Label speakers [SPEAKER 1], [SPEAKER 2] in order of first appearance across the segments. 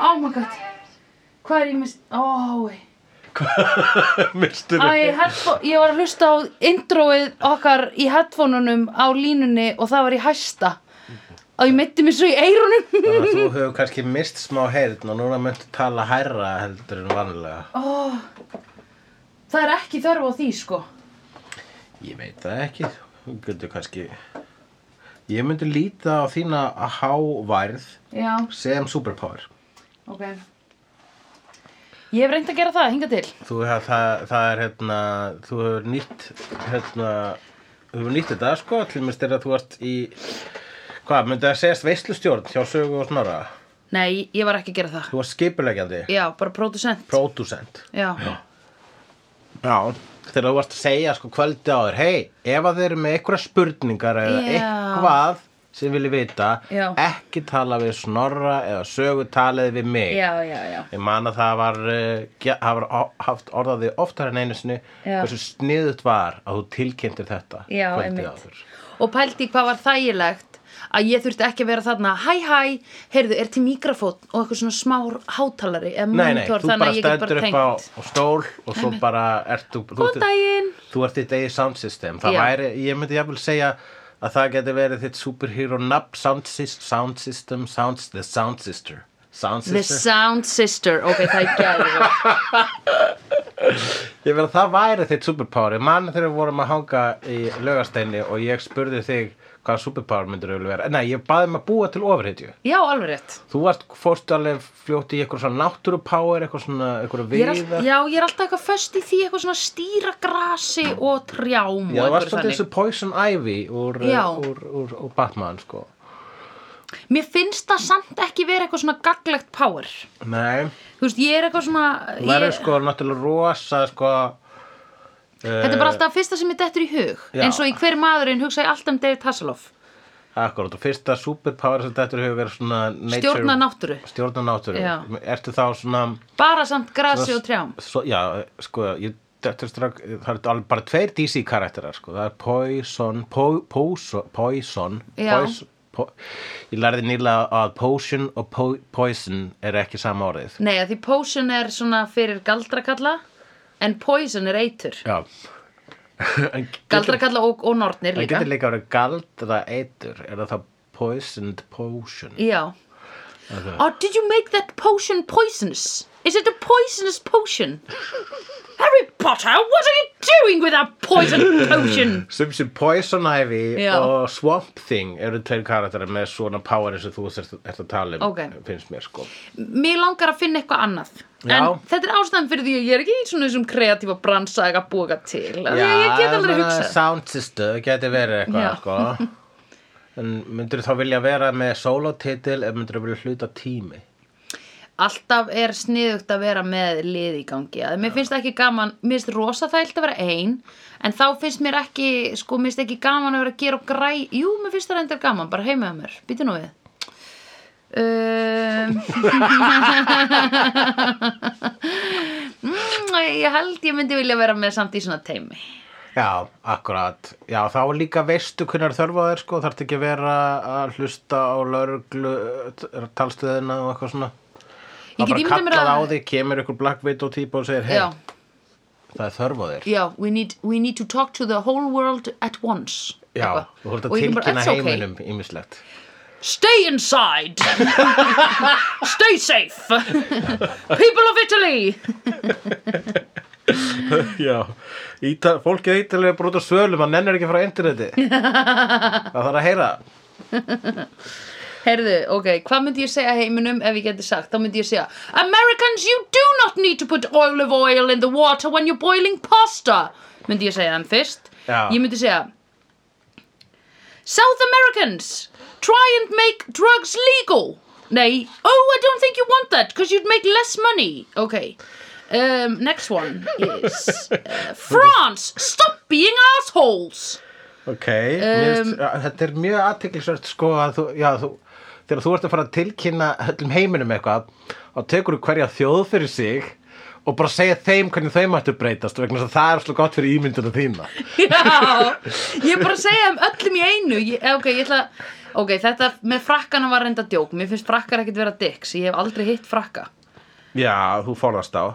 [SPEAKER 1] Oh my god Hvað er ég mist? Ó, ei
[SPEAKER 2] Mistur
[SPEAKER 1] Æ, headfo- ég var að hlusta á introið okkar í headphoneunum á línunni og það var í hæsta og ég meitti mér svo í eyrunum
[SPEAKER 3] Þú hefur kannski mist smá heyrn og núna myndu tala hærra heldur en vanlega.
[SPEAKER 1] oh, Það er ekki þörf á því sko
[SPEAKER 3] Ég veit það ekki. Þú getur kannski... Ég myndi líta á þína háværð
[SPEAKER 1] Já,
[SPEAKER 3] sem superpower.
[SPEAKER 1] ok Ég hef reynd að gera það, hinga til
[SPEAKER 3] Þú hefur, það, það er hérna, þú hefur nýtt, hérna, þú hefur nýtt þetta sko, til minnst er að þú ert í, hvað, myndi það segjast veislustjórn hjá Sögu og Snorra?
[SPEAKER 1] Nei, ég var ekki að gera það
[SPEAKER 3] Þú varst skipulegjandi,
[SPEAKER 1] Já, bara producent
[SPEAKER 3] pródúsent.
[SPEAKER 1] Já,
[SPEAKER 3] Já. Þegar þú varst að segja sko kvöldi á þér, hei, ef að þeir eru með einhverja spurningar eða
[SPEAKER 1] Já.
[SPEAKER 3] eitthvað sem vilji vita,
[SPEAKER 1] Já.
[SPEAKER 3] ekki tala við Snorra eða Sögu talaði við mig.
[SPEAKER 1] já, já, já
[SPEAKER 3] Ég man að það var, eh, ge- það var á- haft orðaði oftar en einu sinni
[SPEAKER 1] Já.
[SPEAKER 3] hversu sniðut var að þú tilkynntir þetta
[SPEAKER 1] Já,
[SPEAKER 3] kvöldið
[SPEAKER 1] einmitt.
[SPEAKER 3] áður.
[SPEAKER 1] og pældi í hvað var þægilegt að ég þurfti ekki að vera þarna hæ hæ, heyrðu, er til mikrofón og eitthvað svona smár hátalari eða
[SPEAKER 3] Nei, nei,
[SPEAKER 1] monitor
[SPEAKER 3] þú bara
[SPEAKER 1] þannig að ég get bara
[SPEAKER 3] stendur upp á,
[SPEAKER 1] tengt
[SPEAKER 3] á stól og svo bara ert þú, þú,
[SPEAKER 1] Góðan daginn
[SPEAKER 3] þú ert þitt eigið sound system. Það
[SPEAKER 1] Já.
[SPEAKER 3] væri, ég myndi jafnvel segja að það geti verið þitt superhero nafn, sound, sys- sound system, sound, the sound sister. Sound
[SPEAKER 1] The
[SPEAKER 3] sister.
[SPEAKER 1] Sound Sister, ok, það er gæði
[SPEAKER 3] Ég verð að það væri þitt superpower. Ég man þegar við vorum að hanga í laugasteini og ég spurði þig hvað superpower myndir auðvitað vera. Nei, ég baði mig að búa til ofurhetju.
[SPEAKER 1] Já, alveg rétt
[SPEAKER 3] Þú varst fórst alveg fljótt í eitthvað svona náttúrupower, eitthvað svona, eitthvað
[SPEAKER 1] ég er
[SPEAKER 3] viða.
[SPEAKER 1] all, Já, ég er alltaf eitthvað föst í því eitthvað svona stýra grasi og trjám
[SPEAKER 3] Já,
[SPEAKER 1] og
[SPEAKER 3] það var
[SPEAKER 1] einhverju
[SPEAKER 3] svolítið þessu Poison Ivy úr, eh,
[SPEAKER 1] Já.
[SPEAKER 3] úr, úr, úr Batman, sko.
[SPEAKER 1] Mér finnst það samt ekki vera eitthvað svona gaglegt power
[SPEAKER 3] Nei,
[SPEAKER 1] Þú veist, ég er eitthvað svona
[SPEAKER 3] hún verður
[SPEAKER 1] ég,
[SPEAKER 3] sko náttúrulega rosa, sko...
[SPEAKER 1] Þetta er bara alltaf fyrsta sem ég dettur í hug
[SPEAKER 3] Já.
[SPEAKER 1] eins og í hver maðurinn hugsa ég alltaf um David Hasselhoff
[SPEAKER 3] Akkurat, og fyrsta superpower sem þetta hefur verið svona... Nature,
[SPEAKER 1] Stjórna náttúru.
[SPEAKER 3] Stjórna náttúru.
[SPEAKER 1] Já.
[SPEAKER 3] Ertu þá svona...
[SPEAKER 1] Bara samt grasi og trjám
[SPEAKER 3] Svo, já, sko, ég, þetta er strak, það er alveg bara tveir DC karakterar, sko, það er Poison, po, Poison, Poison,
[SPEAKER 1] Já.
[SPEAKER 3] Poison, po, ég lærði nýlega að Potion og po, Poison er ekki sama orðið.
[SPEAKER 1] Nei, að því potion er svona fyrir galdrakalla en poison er eitur
[SPEAKER 3] Já. En getur-
[SPEAKER 1] Galdrakalla og, og nornir
[SPEAKER 3] en
[SPEAKER 1] líka
[SPEAKER 3] getur líka að vera galdra eitur, er það þá Poisoned Potion?
[SPEAKER 1] Já Oh, did you make that potion poisonous? Is it a poisonous potion? Harry Potter, what are you doing with that poison potion?
[SPEAKER 3] Sem sem Poison Ivy
[SPEAKER 1] Já.
[SPEAKER 3] og Swamp Thing eru tveir karakterar með svona poweri sem þú ert ert að tala um,
[SPEAKER 1] Ok.
[SPEAKER 3] finnst mér, sko.
[SPEAKER 1] Mér langar að finna eitthvað annað
[SPEAKER 3] Já.
[SPEAKER 1] En þetta er ástæðan fyrir því að ég er ekki í svona þessum kreatífa bransa að búa eitthvað til Já, Ég get alveg
[SPEAKER 3] meina,
[SPEAKER 1] hugsað
[SPEAKER 3] Sound system geti verið eitthvað,
[SPEAKER 1] Já.
[SPEAKER 3] sko. En myndir þá vilja vera með solotitil eða myndir þú vilja hluta tími?
[SPEAKER 1] alltaf er sniðugt að vera með lið í gangi að mér finnst ekki gaman, mér finnst rosa þælt að vera ein en þá finnst mér ekki sko, mér finnst ekki gaman að vera að gera og græ jú, mér finnst það reyndar gaman, bara heimaða mér býtu nú við um, mm, ég held ég myndi vilja vera með samt í svona teimi
[SPEAKER 3] Já, akkurat. Já, þá líka veistu hvernig þörfa þér, sko. Þarft ekki að vera að hlusta á lauruglu talstöðina og eitthvað svona.
[SPEAKER 1] Ég
[SPEAKER 3] Það
[SPEAKER 1] get
[SPEAKER 3] bara
[SPEAKER 1] ímyndað mér
[SPEAKER 3] kallað á
[SPEAKER 1] að-
[SPEAKER 3] þig, kemur ykkur Black Widow típa og segir,
[SPEAKER 1] já,
[SPEAKER 3] hei, það er þörfa þér.
[SPEAKER 1] já, we need, we need to talk to the whole world at once
[SPEAKER 3] Já,
[SPEAKER 1] Eitthvað.
[SPEAKER 3] þú voru
[SPEAKER 1] Og
[SPEAKER 3] að
[SPEAKER 1] ég bara,
[SPEAKER 3] tilkynna
[SPEAKER 1] "It's okay."
[SPEAKER 3] heiminum ímislegt.
[SPEAKER 1] Stay inside. Stay safe. People of Italy.
[SPEAKER 3] Já, Ítal, fólkið ítalega er bara út á svölum, hann nennir ekki frá interneti. það þarf að heyra.
[SPEAKER 1] Herðu, ok, hvað myndi ég segja heiminum ef ég geti sagt? Þá myndi ég segja Americans, you do not need to put olive oil in the water when you're boiling pasta. Myndi ég segja hann fyrst.
[SPEAKER 3] Já.
[SPEAKER 1] Ég myndi segja South Americans, try and make drugs legal. Nei, oh, I don't think you want that because you'd make less money. Ok, um, next one is uh, France, stop being assholes.
[SPEAKER 3] Ok, um, þetta er mjög aðteklisvert sko að þú, já, þú, þegar þú ert að fara að tilkynna öllum heiminum eitthvað og tekur þú hverja þjóð fyrir sig og bara segja þeim hvernig þeim ættu að breytast vegna þess að það er svo gott fyrir ímyndina þína.
[SPEAKER 1] Já, ég er bara að segja um öllum í einu ég, Ok, ég ætla að Ok, þetta með frakkana var reynda djók. Mér finnst frakkar ekkit vera dicks. Ég hef aldrei hitt frakka.
[SPEAKER 3] Já, þú forðast á.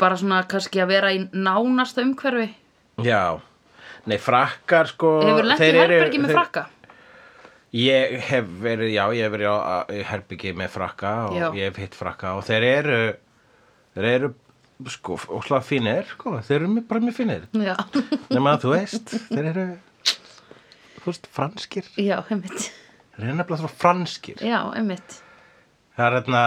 [SPEAKER 1] Bara svona kannski að vera í nánasta umhverfi.
[SPEAKER 3] Já. Nei, frakkar sko.
[SPEAKER 1] Hefur lent í
[SPEAKER 3] þeir eru-
[SPEAKER 1] herbergi með
[SPEAKER 3] þeir-
[SPEAKER 1] frakka?
[SPEAKER 3] Ég hef verið, já, ég hef verið á á- í herbyggi með frakka og
[SPEAKER 1] Já.
[SPEAKER 3] ég hef hitt frakka og þeir eru, þeir eru, sko, óslega fínir, sko, þeir eru mjög- bara mjög fínir.
[SPEAKER 1] Já,
[SPEAKER 3] Nefna að þú veist, þeir eru, þú veist, franskir,
[SPEAKER 1] já, einmitt.
[SPEAKER 3] þeir eru nefnilega svo franskir.
[SPEAKER 1] Já, einmitt.
[SPEAKER 3] Það er hérna,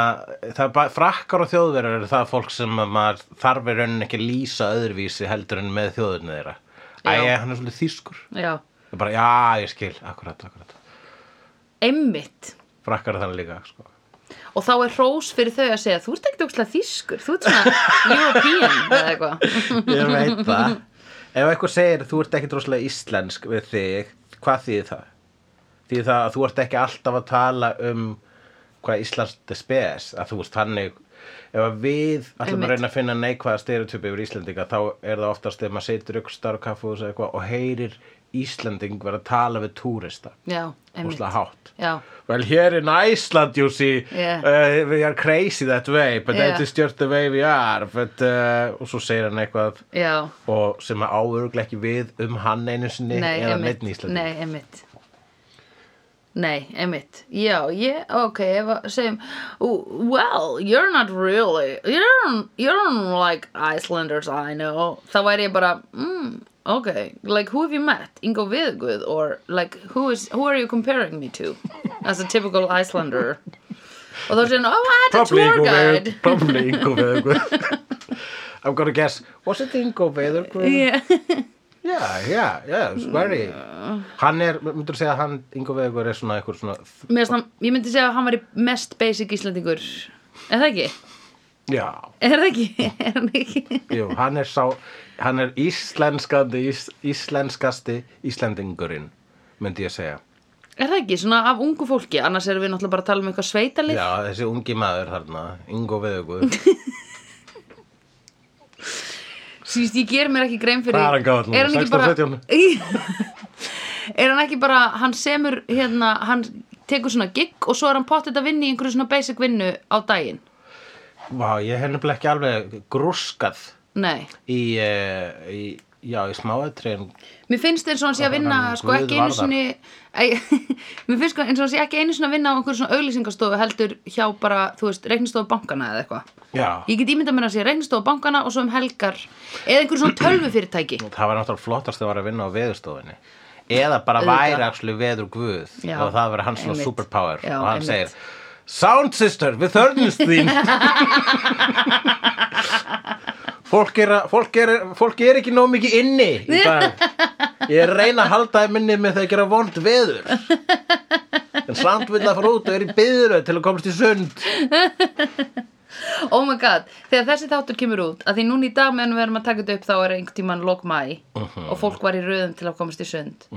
[SPEAKER 3] það er bara, frakkar og þjóðverður eru það fólk sem að maður þarf í rauninni ekki að lýsa öðruvísi heldur en með þjóðurinn þeirra.
[SPEAKER 1] Já.
[SPEAKER 3] Æja, hann er svolítið þýskur.
[SPEAKER 1] Já,
[SPEAKER 3] Það er bara, já, ég skil, akkurat, akkurat.
[SPEAKER 1] einmitt.
[SPEAKER 3] Frakkar er þannig líka, sko.
[SPEAKER 1] Og þá er hrós fyrir þau að segja, þú ert ekkit ógstlega þýskur, þú ert svona European eða eitthvað.
[SPEAKER 3] Ég veit það Ef eitthvað segir þú ert ekki droslega íslensk við þig, hvað þýðir það? Þýðir það að þú ert ekki alltaf að tala um hvað íslenskt er spes að þú ert þannig ef að við ætlum
[SPEAKER 1] Einmitt.
[SPEAKER 3] að reyna að finna neikvæða stereotypi yfir Íslendinga þá er það oftast þegar maður setur ykkur starf kaffús eða eitthvað og heyrir Íslending vera að tala við túrista
[SPEAKER 1] Já, einmitt.
[SPEAKER 3] húslega hátt
[SPEAKER 1] Já,
[SPEAKER 3] Well, here in Iceland, you see,
[SPEAKER 1] Yeah.
[SPEAKER 3] uh, we are crazy that way, but
[SPEAKER 1] Yeah.
[SPEAKER 3] that is just the way we are. But, uh, og svo segir hann eitthvað
[SPEAKER 1] já,
[SPEAKER 3] og sem að áöruglega ekki við um hann einu sinni
[SPEAKER 1] nei,
[SPEAKER 3] eða
[SPEAKER 1] einmitt.
[SPEAKER 3] neitt í Íslandi
[SPEAKER 1] Nei, einmitt. Nei, einmitt. Já, ég, ok, ef að segjum, well, you're not really, you're, you're not like Icelanders I know. Þá væri ég bara, mm, ok, like who have you met? Ingo Viðguð or like who is, who are you comparing me to as a typical Icelander? Og þá segir hann, oh, I had a tour
[SPEAKER 3] Probably Ingo
[SPEAKER 1] guide.
[SPEAKER 3] Veður- Probably Ingo Veðurguð I'm gonna guess Was it Ingo Veðurguð?
[SPEAKER 1] Yeah.
[SPEAKER 3] Yeah, yeah, yeah, it's very Hann er, myndur þú segja að hann Ingo Veðurguð er svona einhver svona
[SPEAKER 1] Mér finnst hann- ég myndi segja að hann var í mest basic Íslandingur Er það ekki?
[SPEAKER 3] Já,
[SPEAKER 1] Er það ekki? Er hann ekki?
[SPEAKER 3] jú, hann er sá Hann er íslenskandi ís, Íslenskasti Íslendingurinn myndi ég segja
[SPEAKER 1] Er það ekki? Svona af ungu fólki Annars erum við náttúrulega bara að tala um eitthvað sveitalið
[SPEAKER 3] Já, þessi ungi maður þarna Ingo Veðurguð
[SPEAKER 1] Sýst, ég ger mér ekki grein fyrir
[SPEAKER 3] Hvað er hann gamall núna?
[SPEAKER 1] Er hann ekki
[SPEAKER 3] 16,
[SPEAKER 1] bara Er hann ekki bara Hann semur hérna Hann tekur svona gig Og svo er hann pottið að vinna í einhverju svona basic vinnu á daginn
[SPEAKER 3] Vá, ég hef nefnilega ekki alveg grúskað
[SPEAKER 1] Nei
[SPEAKER 3] í, uh, í já, í smáatriðin
[SPEAKER 1] Mér finnst eins og hann sé að vinna
[SPEAKER 3] Hann
[SPEAKER 1] sko ekki einu
[SPEAKER 3] guðvarðar.
[SPEAKER 1] sinni Æ, Mér finnst sko eins og hann sé ekki einu sinni að vinna á einhverju svona auglýsingastofu heldur hjá bara, þú veist, reiknistofu bankana eða eitthvað
[SPEAKER 3] já,
[SPEAKER 1] Ég get ímyndað mér að sé reiknistofu bankana og svo um helgar eða einhverju svona tölvufyrirtæki
[SPEAKER 3] það var náttúrulega flottast að vera að vinna á veðurstofinni eða bara
[SPEAKER 1] Auðvitað.
[SPEAKER 3] væri actually veður guð
[SPEAKER 1] Já,
[SPEAKER 3] og það verið hans svona
[SPEAKER 1] einmitt.
[SPEAKER 3] superpower
[SPEAKER 1] Já,
[SPEAKER 3] og hann
[SPEAKER 1] einmitt.
[SPEAKER 3] segir Sound sister, við þörnumst þín fólk, er, að- fólk, er, fólk er ekki nóg mikið inni í dag Ég er að reyna að halda þeim minni með það að gera vond veður En samt vil það fara út og er í byðuröð til að komast í sund
[SPEAKER 1] Oh my god, þegar þessi þáttur kemur út að því núna í dag meðan við erum að taka þetta upp þá er einhvern tímann lok mæ
[SPEAKER 3] Mhm.
[SPEAKER 1] og fólk var í röðum til að komast í sund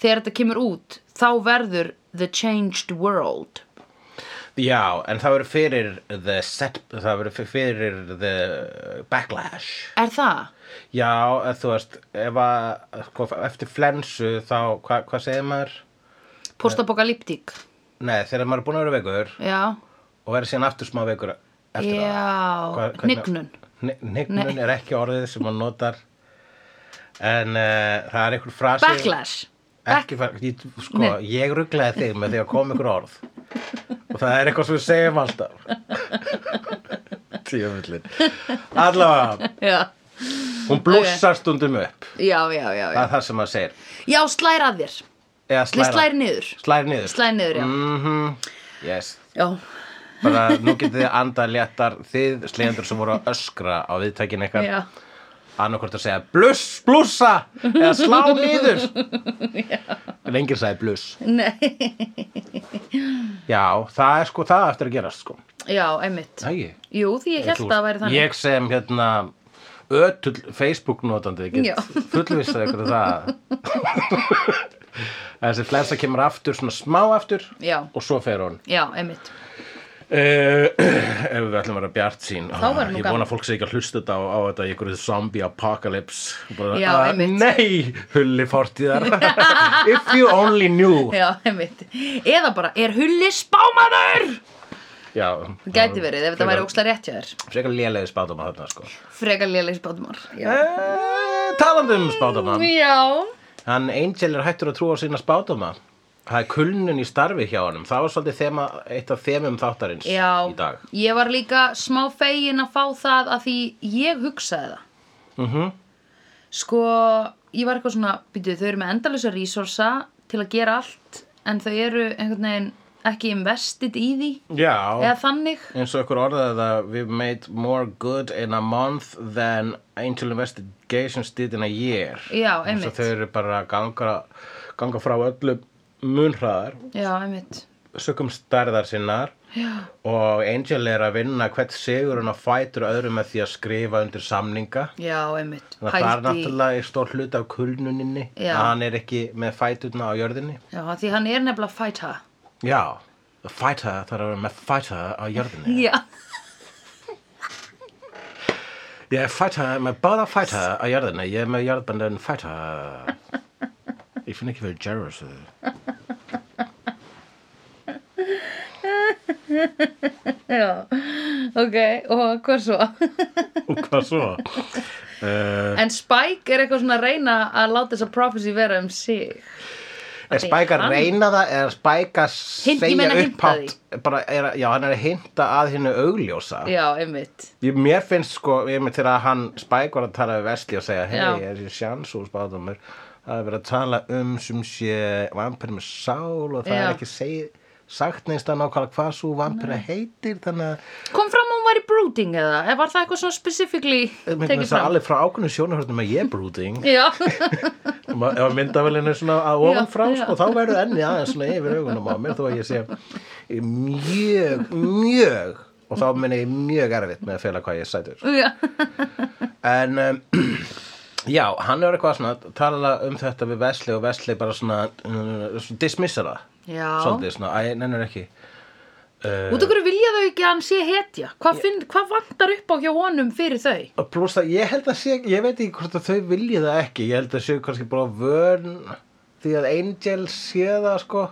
[SPEAKER 1] Þegar þetta kemur út þá verður The Changed World
[SPEAKER 3] Já, en það verður fyrir the set, það verður fyrir the backlash.
[SPEAKER 1] Er það?
[SPEAKER 3] Já, eh, þú veist, ef að, sko, eftir flensu þá, hva, hvað segir maður?
[SPEAKER 1] Postapokalíptík?
[SPEAKER 3] Nei, þegar maður er búin að vera veikur
[SPEAKER 1] Já,
[SPEAKER 3] og verður síðan aftur smá veikur eftir það.
[SPEAKER 1] já,
[SPEAKER 3] Hvað- hvernig-
[SPEAKER 1] hnignun
[SPEAKER 3] Hni- Hnignun er ekki orðið sem maður notar, en uh, það er einhver frasi.
[SPEAKER 1] Backlash
[SPEAKER 3] Ekki, fa- ég, sko,
[SPEAKER 1] Nei.
[SPEAKER 3] ég rugglaði þig með því að koma ykkur orð og það er eitthvað sem við segjum alltaf Tíufullin Allavega,
[SPEAKER 1] Já,
[SPEAKER 3] hún blússar stundum upp
[SPEAKER 1] já, já, já,
[SPEAKER 3] það
[SPEAKER 1] já.
[SPEAKER 3] er það sem maður segir
[SPEAKER 1] Já, slær að þér
[SPEAKER 3] Eða
[SPEAKER 1] Nei,
[SPEAKER 3] slæra,
[SPEAKER 1] slær niður
[SPEAKER 3] slær Mm. niður Mhm.
[SPEAKER 1] Slær niður, já
[SPEAKER 3] Yes,
[SPEAKER 1] Já,
[SPEAKER 3] bara nú getið þið andað léttar þið slegjendur sem voru að öskra á viðtækin eitthvað
[SPEAKER 1] já,
[SPEAKER 3] annarkvort að segja bluss, blussa eða slá niður en enginn sagði bluss
[SPEAKER 1] nei
[SPEAKER 3] Já, það er sko það á eftir að gerast sko
[SPEAKER 1] Já, einmitt
[SPEAKER 3] Ægir
[SPEAKER 1] Jú, því ég held að það væri þannig
[SPEAKER 3] Ég sem hérna ötull Facebook notandi
[SPEAKER 1] Já.
[SPEAKER 3] get fullvissað ykkur um það þessi flensa kemur aftur svona smá aftur
[SPEAKER 1] Já.
[SPEAKER 3] og svo fer hún
[SPEAKER 1] Já, einmitt
[SPEAKER 3] Eh,
[SPEAKER 2] Uh, ef við ætlum að vera bjart sín
[SPEAKER 1] Þá
[SPEAKER 3] ah,
[SPEAKER 1] verður nú
[SPEAKER 2] ég
[SPEAKER 1] gaman.
[SPEAKER 2] vona að fólk sé ekki að hlusta þetta á, á þetta í einhverju zombie apocalypse bara,
[SPEAKER 1] Já,
[SPEAKER 2] "Ah,
[SPEAKER 1] einmitt.
[SPEAKER 2] nei, hulli fortíðar if you only knew
[SPEAKER 1] Já, einmitt. Eða bara, er hulli spámaður?
[SPEAKER 2] já,
[SPEAKER 1] Það gæti verið, ef þetta væri ókslega rétt hjá þér.
[SPEAKER 3] frekar lélegi spátum að þarna sko
[SPEAKER 1] Frekar léleg spátumar. Já.
[SPEAKER 3] Eh, talandi um spátumann
[SPEAKER 1] Já.
[SPEAKER 3] Hann Angel er hættur að trúa á sína spátuma. Það er kulnun í starfi hjá honum. Það var svolítið þema, eitt af þemum þáttarins
[SPEAKER 1] Já,
[SPEAKER 3] í dag.
[SPEAKER 1] ég var líka smá fegin að fá það að því ég hugsaði það. Mm -hmm. Sko, ég var eitthvað svona, býtu, þau eru með endalösa resursa til að gera allt en þau eru einhvern veginn ekki investið í því
[SPEAKER 2] já,
[SPEAKER 1] eða þannig.
[SPEAKER 3] Eins og ykkur orðaði það, we've made more good in a month than Angel Investigations did in a year.
[SPEAKER 1] Já,
[SPEAKER 3] Eins og
[SPEAKER 1] einmitt.
[SPEAKER 3] þau eru bara að ganga, ganga frá öllu munhraðar,
[SPEAKER 1] Já, einmitt.
[SPEAKER 3] sökum stærðar sinnar. Já. Og Angel er að vinna hvert sigur hann að fætur öðrum með því að skrifa undir samninga.
[SPEAKER 1] Já, einmitt.
[SPEAKER 3] Þannig að það er
[SPEAKER 1] Pældi í-
[SPEAKER 3] náttúrulega er stór hlut af kulnuninni
[SPEAKER 1] Já.
[SPEAKER 3] að hann er ekki með fæturna á jörðinni.
[SPEAKER 1] Já, því hann er nefnilega fæta.
[SPEAKER 3] Já, fæta þarf að vera með fæta á jörðinni.
[SPEAKER 1] Já.
[SPEAKER 3] Ég er fæta með báða fæta á jörðinni. Ég er með jörðbandin fæta. Ég finn ekki fyrir eh. Jarrus.
[SPEAKER 1] Já. Ok, og hvað svo?
[SPEAKER 2] og hvað svo
[SPEAKER 3] Eh,
[SPEAKER 2] uh,
[SPEAKER 1] en Spike er eitthvað svona að reyna að láta þessa prophecy vera um sig.
[SPEAKER 3] Er Spæk að
[SPEAKER 1] hann-
[SPEAKER 3] reyna það eða er Spæk að
[SPEAKER 1] Hint- ég
[SPEAKER 3] segja
[SPEAKER 1] meina hinta
[SPEAKER 3] upphátt? Bara er að- Já, hann er að hinta að hennu augljósa.
[SPEAKER 1] Já, einmitt.
[SPEAKER 3] Ég, mér finnst sko, ég með til að hann Spike var að tala við Vesli og segja
[SPEAKER 1] Já.
[SPEAKER 3] hei, er ég sjans úr spátumur það er verið að tala um sem sé vampir með sál og það
[SPEAKER 1] Já.
[SPEAKER 3] er ekki seg, sagt neins það nákvæmlega hvað svo vampir heitir þannig að
[SPEAKER 1] Kom fram að hún væri brooding eða? Eða var það eitthvað svona specifíkli tekið
[SPEAKER 3] mér finnst það
[SPEAKER 1] fram?
[SPEAKER 3] alveg frá ákveðnu sjónahörnum að ég er brooding
[SPEAKER 1] Já,
[SPEAKER 3] Ma- ef myndavælinn er svona að ofan
[SPEAKER 1] Já,
[SPEAKER 3] frá
[SPEAKER 1] já.
[SPEAKER 3] sko, þá verður enni aðeins svona yfir augunum á mér þó að ég sé mjög, mjög og þá meni ég mjög erfitt með að fela hvað ég er sætur
[SPEAKER 1] já,
[SPEAKER 3] En um, já, hann er eitthvað svona að tala um þetta við Vesli og Vesli bara svona, uh, svona dismissar það.
[SPEAKER 1] já.
[SPEAKER 3] Svolítið svona, æ, nennir ekki. Uh,
[SPEAKER 1] Út okkur vilja þau ekki að hann sé hetja? Hvað, finn, hvað vantar upp á hjá honum fyrir þau?
[SPEAKER 3] og pluss það, ég held að sé, ég veit ekki hvort að þau vilja það ekki. Ég held að séu kannski bara vörn því að Angel sé það sko.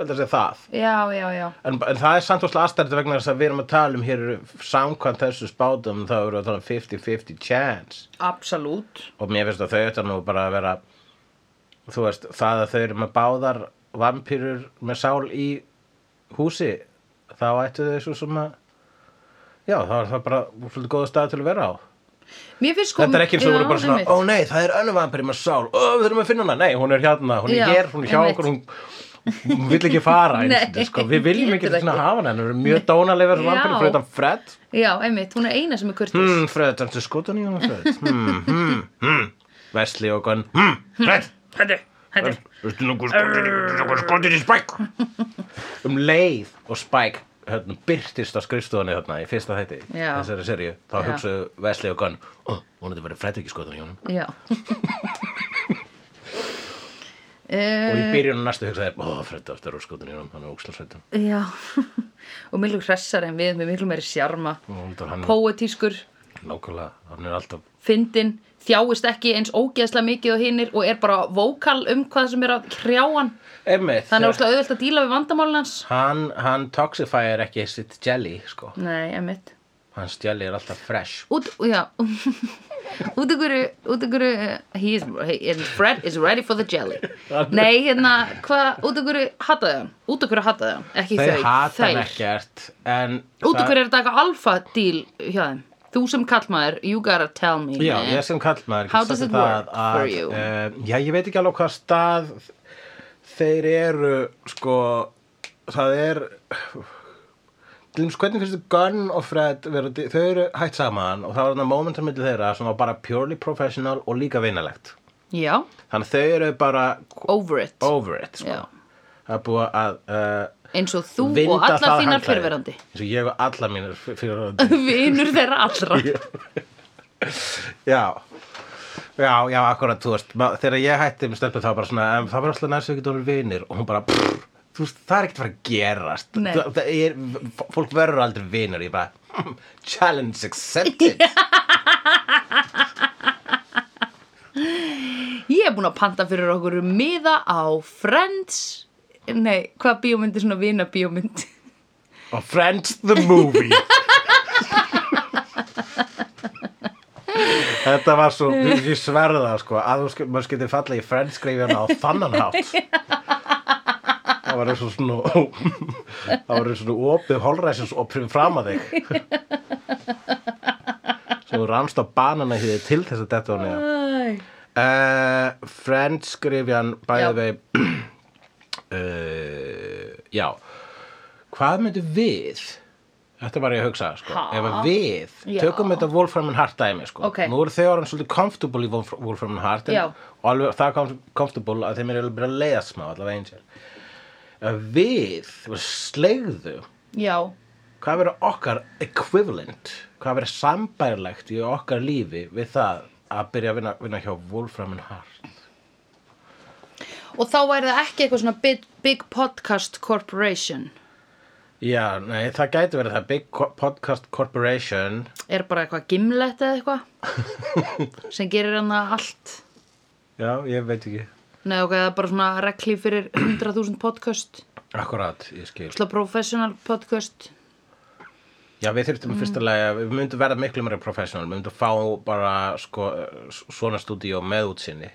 [SPEAKER 3] Ég held að sé það.
[SPEAKER 1] Já, já, já.
[SPEAKER 3] En, en það er samt og slag aðstært vegna þess að við erum að tala um hér eru samkvæmt þessu spátum þá eru að tala um 50-50 chance.
[SPEAKER 1] Absolút.
[SPEAKER 3] og mér finnst að þau þetta nú bara að vera þú veist, það að þau eru með báðar vampýrur með sál í húsi þá ættu þau svo sem að já, þá er það bara svolítið góða stað til að vera á
[SPEAKER 1] Mér finnst sko...
[SPEAKER 3] þetta er ekki eins og
[SPEAKER 1] Já,
[SPEAKER 3] voru bara svona, "Oh,
[SPEAKER 1] einmitt.
[SPEAKER 3] ó nei, það er önnu vampýri með sál ó, við þurfum að finna hana, nei, hún er hérna hún er
[SPEAKER 1] Já,
[SPEAKER 3] hér, hún er hjá
[SPEAKER 1] einmitt.
[SPEAKER 3] okkur hún, hún vil ekki fara einu
[SPEAKER 1] Nei,
[SPEAKER 3] sinni, sko. við viljum ekki
[SPEAKER 1] getur
[SPEAKER 3] svona
[SPEAKER 1] ekki.
[SPEAKER 3] hafa hana hennar, mjög dónalega
[SPEAKER 1] Já.
[SPEAKER 3] verður vampýri fyrir utan Fred
[SPEAKER 1] Já, einmitt, hún er eina sem er kurtis.
[SPEAKER 3] Hmm, Fred, ertu skotan í hún Fred? Hmm, hmm, hmm. Wesley og Gunn, hmm, Fred,
[SPEAKER 1] Hættu, hættu.
[SPEAKER 2] veistu nú hvað skotir veistu nú hvað skotir í spæk
[SPEAKER 3] um leið og Spike hérna, byrtist á skrifstofunni hérna í fyrsta þætti
[SPEAKER 1] Já.
[SPEAKER 3] þessari serju, þá
[SPEAKER 1] Já.
[SPEAKER 3] hugsaðu Wesley og Gunn oh, hún hefði verið frættu ekki skoðan í honum
[SPEAKER 1] Já.
[SPEAKER 3] og
[SPEAKER 1] Uh,
[SPEAKER 3] í byrjunum næstu hugsaði ó, oh, frættu aftur úr skoðan í honum, hann er ókslega frættu
[SPEAKER 1] já, og miklu hressar en við, með miklu meiri sjarma,
[SPEAKER 3] og hún er hann
[SPEAKER 1] poetískur,
[SPEAKER 3] nákvæmlega, hann er alltaf
[SPEAKER 1] fyndin, þjáist ekki eins ógeðslega mikið og hinnir og er bara vókal um hvað sem er að krjá hann. Þannig er
[SPEAKER 3] Einmitt, þegar-
[SPEAKER 1] óslega auðvelt að díla við vandamálin hans.
[SPEAKER 3] hann, hann toxifyir ekki sitt jelly sko,
[SPEAKER 1] Nei, emitt.
[SPEAKER 3] hans jelly er alltaf fresh
[SPEAKER 1] Út, já, út ykkur, út ykkur, he is, he, and Fred is ready for the jelly. Nei, hérna, hvað, út ykkur hataði hann? Út ykkur hataði hann, ekki þau,
[SPEAKER 3] þau hata hann
[SPEAKER 1] þær.
[SPEAKER 3] ekkert en
[SPEAKER 1] Út
[SPEAKER 3] það-
[SPEAKER 1] ykkur er þetta eitthvað alfa díl hjá þeim. Þú sem kallmaður, you gotta tell me.
[SPEAKER 3] Já,
[SPEAKER 1] man.
[SPEAKER 3] ég sem kallmaður
[SPEAKER 1] How
[SPEAKER 3] get
[SPEAKER 1] does
[SPEAKER 3] sagt
[SPEAKER 1] it
[SPEAKER 3] það
[SPEAKER 1] work for you?
[SPEAKER 3] eh, Já, ég veit ekki alveg hvað stað þeir eru sko, það er til dæmis hvernig finnst þið Gunn og Fred vera, þau eru hætt saman og það var þarna momentum milli þeirra sem var bara purely professional og líka vinalegt
[SPEAKER 1] Já,
[SPEAKER 3] þannig að þau eru bara
[SPEAKER 1] over it.
[SPEAKER 3] over it sko.
[SPEAKER 1] Já,
[SPEAKER 3] það er búið að uh,
[SPEAKER 1] eins og þú
[SPEAKER 3] vinda
[SPEAKER 1] og allar
[SPEAKER 3] það
[SPEAKER 1] þínar
[SPEAKER 3] handklæði.
[SPEAKER 1] fyrirverandi.
[SPEAKER 3] eins og ég og allar mínir fyrirverandi
[SPEAKER 1] Vinur þeirra allra.
[SPEAKER 3] Já Já, já, akkurat, þú veist ma- Þegar ég hætti með stelpu þá bara svona en, Það var alltaf næst að við getum verið vinir Og hún bara, pff, þú veist, það er ekkert að fara að gerast
[SPEAKER 1] Nei.
[SPEAKER 3] það, það er, f- fólk verður aldrei vinur ég bara, hmm, challenge accepted
[SPEAKER 1] Ég er búin að panta fyrir okkur miða á Friends Nei, hvað bíómynd er svona vina bíómynd?
[SPEAKER 3] og Friends the movie Þetta var svo, ég sverða það sko, að þú sk- maður skildi falla í Friends greifjana á þannan hátt. Það var eins og svona, það var eins og svona opið holræsins og prifið fram að þig. Svo þú rannst á banana hýði til þess að detta hún eða.
[SPEAKER 1] Æ.
[SPEAKER 3] Uh, Friends greifjan, bæði
[SPEAKER 1] Já.
[SPEAKER 3] vei, uh, já, hvað myndu við? Þetta var ég að hugsa, sko.
[SPEAKER 1] Ha?
[SPEAKER 3] Ef að við
[SPEAKER 1] Já.
[SPEAKER 3] tökum þetta Wolfram and Heart dæmi, sko.
[SPEAKER 1] Ok.
[SPEAKER 3] Nú eru þau orðin svolítið comfortable í Wolf- Wolfram and Heart. en-
[SPEAKER 1] Já.
[SPEAKER 3] Og alveg það kom- comfortable að þeim eru alveg að leiðast smá, allavega eins og. Ef við slegðu,
[SPEAKER 1] Já,
[SPEAKER 3] hvað verður okkar equivalent, hvað verður sambærilegt í okkar lífi við það að byrja að vinna, vinna hjá Wolfram and Heart?
[SPEAKER 1] og þá væri það ekki eitthvað svona big, big Podcast Corporation
[SPEAKER 3] Já, nei, það gæti verið það Big Co- Podcast Corporation.
[SPEAKER 1] Er bara eitthvað gimlet eða eitthvað sem gerir hann allt
[SPEAKER 3] Já, ég veit ekki.
[SPEAKER 1] Nei, ok, það er bara svona regli fyrir 100.000 podcast
[SPEAKER 3] Akkurat, ég skil.
[SPEAKER 1] Slá professional podcast
[SPEAKER 3] Já, við þurftum mm. fyrsta lega, við myndum verða miklu meira professional, við myndum fá bara sko, s- svona stúdíó með útsinni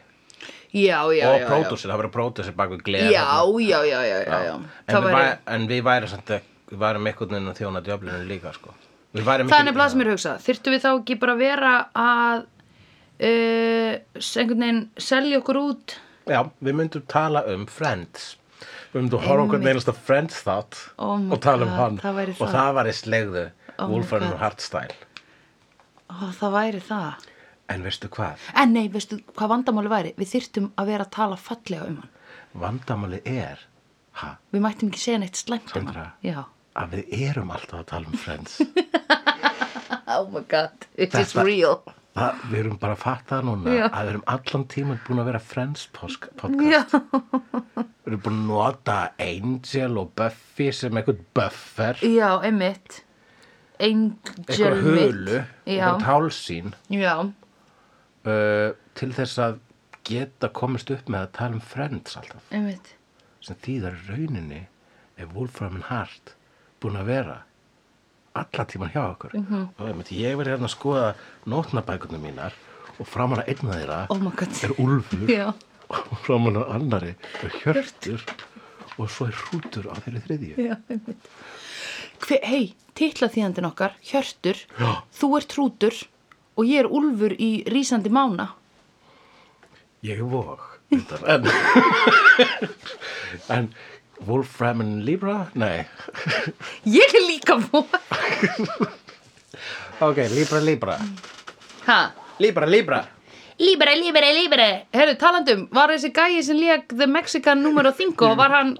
[SPEAKER 1] Já, já, já
[SPEAKER 3] og
[SPEAKER 1] já.
[SPEAKER 3] pródúsir, það verður pródúsir bak við
[SPEAKER 1] Já,
[SPEAKER 3] gleð
[SPEAKER 1] já, já, já, já, já.
[SPEAKER 3] En,
[SPEAKER 1] Það
[SPEAKER 3] við,
[SPEAKER 1] væri-
[SPEAKER 3] væri... en við væri samt að, við værum einhvern veginn að þjóna djöflunum líka sko. Við værum
[SPEAKER 1] Það er nefnilega sem ég er að hugsa. Þyrftum við þá ekki bara að vera að uh, einhvern veginn selja okkur út?
[SPEAKER 3] Já, við myndum tala um Friends Við myndum horfa okkur neilast að Friends þátt
[SPEAKER 1] Oh my
[SPEAKER 3] og tala um
[SPEAKER 1] God,
[SPEAKER 3] hann
[SPEAKER 1] það væri
[SPEAKER 3] og
[SPEAKER 1] það.
[SPEAKER 3] það væri slegðu
[SPEAKER 1] Oh my
[SPEAKER 3] Wolfram
[SPEAKER 1] God.
[SPEAKER 3] Hardstyle
[SPEAKER 1] Ó, það væri það.
[SPEAKER 3] En veistu hvað?
[SPEAKER 1] En nei, veistu hvað vandamáli væri? Við þyrftum að vera að tala fallega um hann.
[SPEAKER 3] Vandamáli er ha,
[SPEAKER 1] Við mættum ekki segja neitt slæmt um hann.
[SPEAKER 3] Sandra.
[SPEAKER 1] Já.
[SPEAKER 3] að við erum alltaf að tala um Friends
[SPEAKER 1] Oh my god, it is
[SPEAKER 3] Þetta-
[SPEAKER 1] real.
[SPEAKER 3] Það, við erum bara að fatta það núna
[SPEAKER 1] Já.
[SPEAKER 3] að við erum allan tíman búin að vera Friends posk- podcast.
[SPEAKER 1] Já,
[SPEAKER 3] Við erum búin að nota Angel og Buffy sem eitthvað buffer,
[SPEAKER 1] já, einmitt. Angel
[SPEAKER 3] eitthvað
[SPEAKER 1] mitt.
[SPEAKER 3] hulu,
[SPEAKER 1] Já,
[SPEAKER 3] eitthvað tálsýn
[SPEAKER 1] já.
[SPEAKER 3] uh, til þess að geta komist upp með að tala um Friends alltaf.
[SPEAKER 1] Einmitt.
[SPEAKER 3] Sem þýðar í rauninni er Wolfram and Hart búin að vera alla tíman hjá okkur. Mm
[SPEAKER 1] Mhm.
[SPEAKER 3] -hmm. Og einmitt, ég verið hérna að skoða nótnabækunum mínar og framan að einna þeirra
[SPEAKER 1] Oh my god.
[SPEAKER 3] er Úlfur.
[SPEAKER 1] Já.
[SPEAKER 3] og framan á annari er hjörtur og svo er hrútur á þeirri þriðju
[SPEAKER 1] Já, einmitt. Hver, hei, titla þýðandinn okkar, Hjörtur, Já. þú ert trútur og ég er úlfur í rísandi mána.
[SPEAKER 3] ég er vóg en, en Wolfram and Libra? Nei
[SPEAKER 1] Ég er líka mór.
[SPEAKER 3] ok, Libra, Libra
[SPEAKER 1] Ha,
[SPEAKER 3] Libra, Libra
[SPEAKER 1] líbere, líbere, líbere. Herru, talandum, var þessi gæi sem lék The Mexican numero 5 og var hann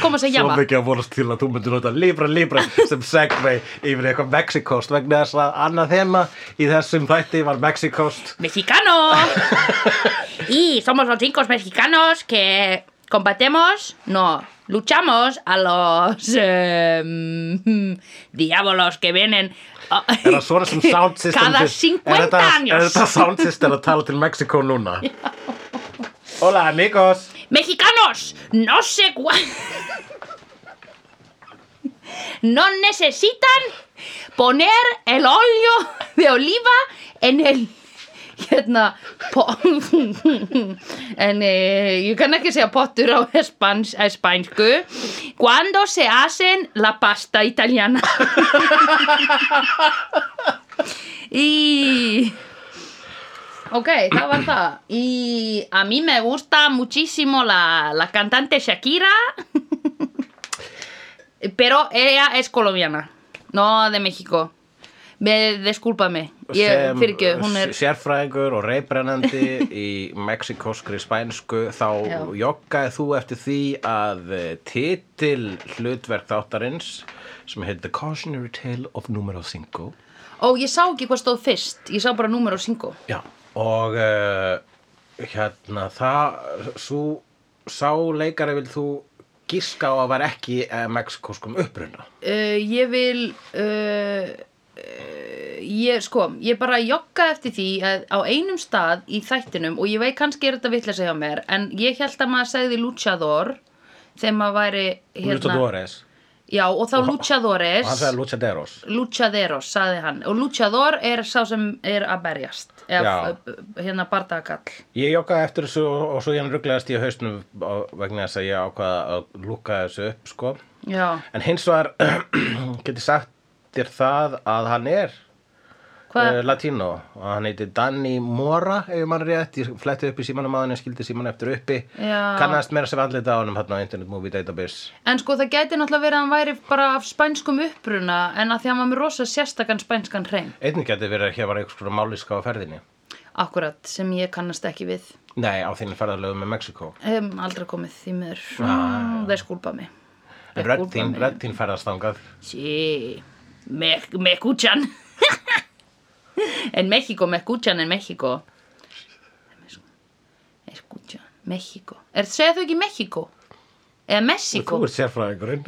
[SPEAKER 1] kom að segja
[SPEAKER 3] svo
[SPEAKER 1] jama?
[SPEAKER 3] mikið að vonast til að þú myndir nota Libra, Libra sem segvei yfir í eitthvað Mexikost vegna þess að annað þema í þessum þætti var Mexikost
[SPEAKER 1] Mexicano! y somos los cinco mexicanos que combatemos, no, luchamos a los um, diablos que vienen.
[SPEAKER 3] Er það svona sem sound system
[SPEAKER 1] Cada
[SPEAKER 3] til-
[SPEAKER 1] 50
[SPEAKER 3] er þetta- Er
[SPEAKER 1] años.
[SPEAKER 3] þetta sound system að tala til Mexiko núna? Hola amigos
[SPEAKER 1] ¡Mexicanos! ¡No sé cuál! No necesitan poner el óleo de oliva en el... Hérna, po, en eh, ég kann ekki segja pottur á espans, espansku eh, Cuando se hacen la pasta italiana Y... Ok, það var það. Y a mí me gusta muchísimo la, la cantante Shakira, pero ella es colombiana, no de México. Me, discúlpame, ég, fyrirgjöð, hún er...
[SPEAKER 3] eh, sérfræðingur og reybrennandi í mexikoskri spænsku þá
[SPEAKER 1] Já.
[SPEAKER 3] joggaði þú eftir því að eh, titil hlutverk þáttarins sem heit The Cautionary Tale of Numero 5
[SPEAKER 1] Ó, ég sá ekki hvað stóð fyrst, ég sá bara númer og syngu.
[SPEAKER 3] Já, og eh, uh, hérna það, svo sá leikari vil þú gíska á að var ekki eh, mexikóskum uppruna
[SPEAKER 1] uh, ég vil uh, uh, ég sko ég bara jogga eftir því að á einum stað í þættinum og ég veit kannski er þetta vitlega hjá mér en ég held að maður segði luchador þegar maður væri
[SPEAKER 3] hérna. Luchadores
[SPEAKER 1] já og þá
[SPEAKER 3] og hann
[SPEAKER 1] luchadores
[SPEAKER 3] sagði Luchaderos
[SPEAKER 1] luchaderos sagði hann og luchador er sá sem er að berjast eða
[SPEAKER 3] Já.
[SPEAKER 1] f- hérna bardagall
[SPEAKER 3] Ég joggaði eftir þessu og og svo ég hann rugglaðast í hausnum á- vegna þess að ég ákvaða að lúka þessu upp sko
[SPEAKER 1] já
[SPEAKER 3] En hins vegar geti sagt þér það að hann er
[SPEAKER 1] hvað
[SPEAKER 3] uh, latínó og hann heiti Danny Mora ef mann rétt, ég fletti upp í símanum að hann skildi síman eftir uppi
[SPEAKER 1] Já.
[SPEAKER 3] kannast meira sem andlita á hann hann á Internet Movie Database
[SPEAKER 1] En sko það gæti náttúrulega verið að hann væri bara af spænskum uppruna en að því að hann var með rosa sérstakann spænskan hrein.
[SPEAKER 3] einnig geti verið að hér var einhvers konar máliska á ferðinni
[SPEAKER 1] Akkurat, sem ég kannast ekki við.
[SPEAKER 3] nei, á þínu ferðarlegu með Mexiko
[SPEAKER 1] Hef aldrei komið því miður. Þeir skúlpa mig.
[SPEAKER 3] en rödd þín, rödd þín ferðast þangað
[SPEAKER 1] Sí, me, me escuchan. en México, me escuchan en México. Me escuchan, México. Er, segja þau ekki México? Eða Mexiko?
[SPEAKER 3] þú ert sérfræðingurinn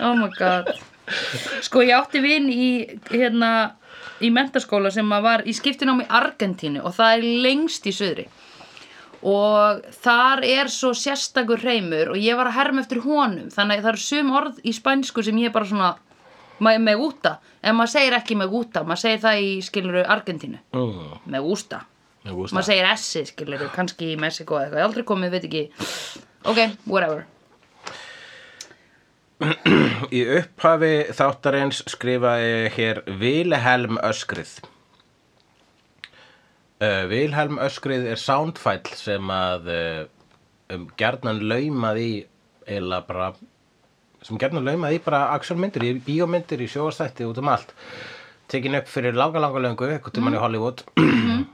[SPEAKER 1] Oh my god Sko ég átti vin í hérna í mentaskóla sem að var í skiptinámi í Argentínu og það er lengst í söðri og þar er svo sérstakur reymur og ég var að herma eftir honum þannig að það eru sum orð í spænsku sem ég bara svona "Ma- me gusta, en maður segir ekki me gusta maður segir það í skiluru Argentínu
[SPEAKER 3] mm,
[SPEAKER 1] me gusta,
[SPEAKER 3] ég gúst
[SPEAKER 1] maður segir essi skiluru kannski í Mexiko eða eitthvað, ég hef aldrei komið, veit ekki ok, whatever
[SPEAKER 3] það. í upphafi þáttarins skrifaði hér Vilhelm Öskrið Uh, Vilhelm Öskrið er soundfæll sem að uh, um, gerðnan laumað í eila bara sem gerðnan laumað í bara aksjónmyndir í bíómyndir í sjóastætti út um allt tekin upp fyrir langa langa löngu eitthvað tímann í Hollywood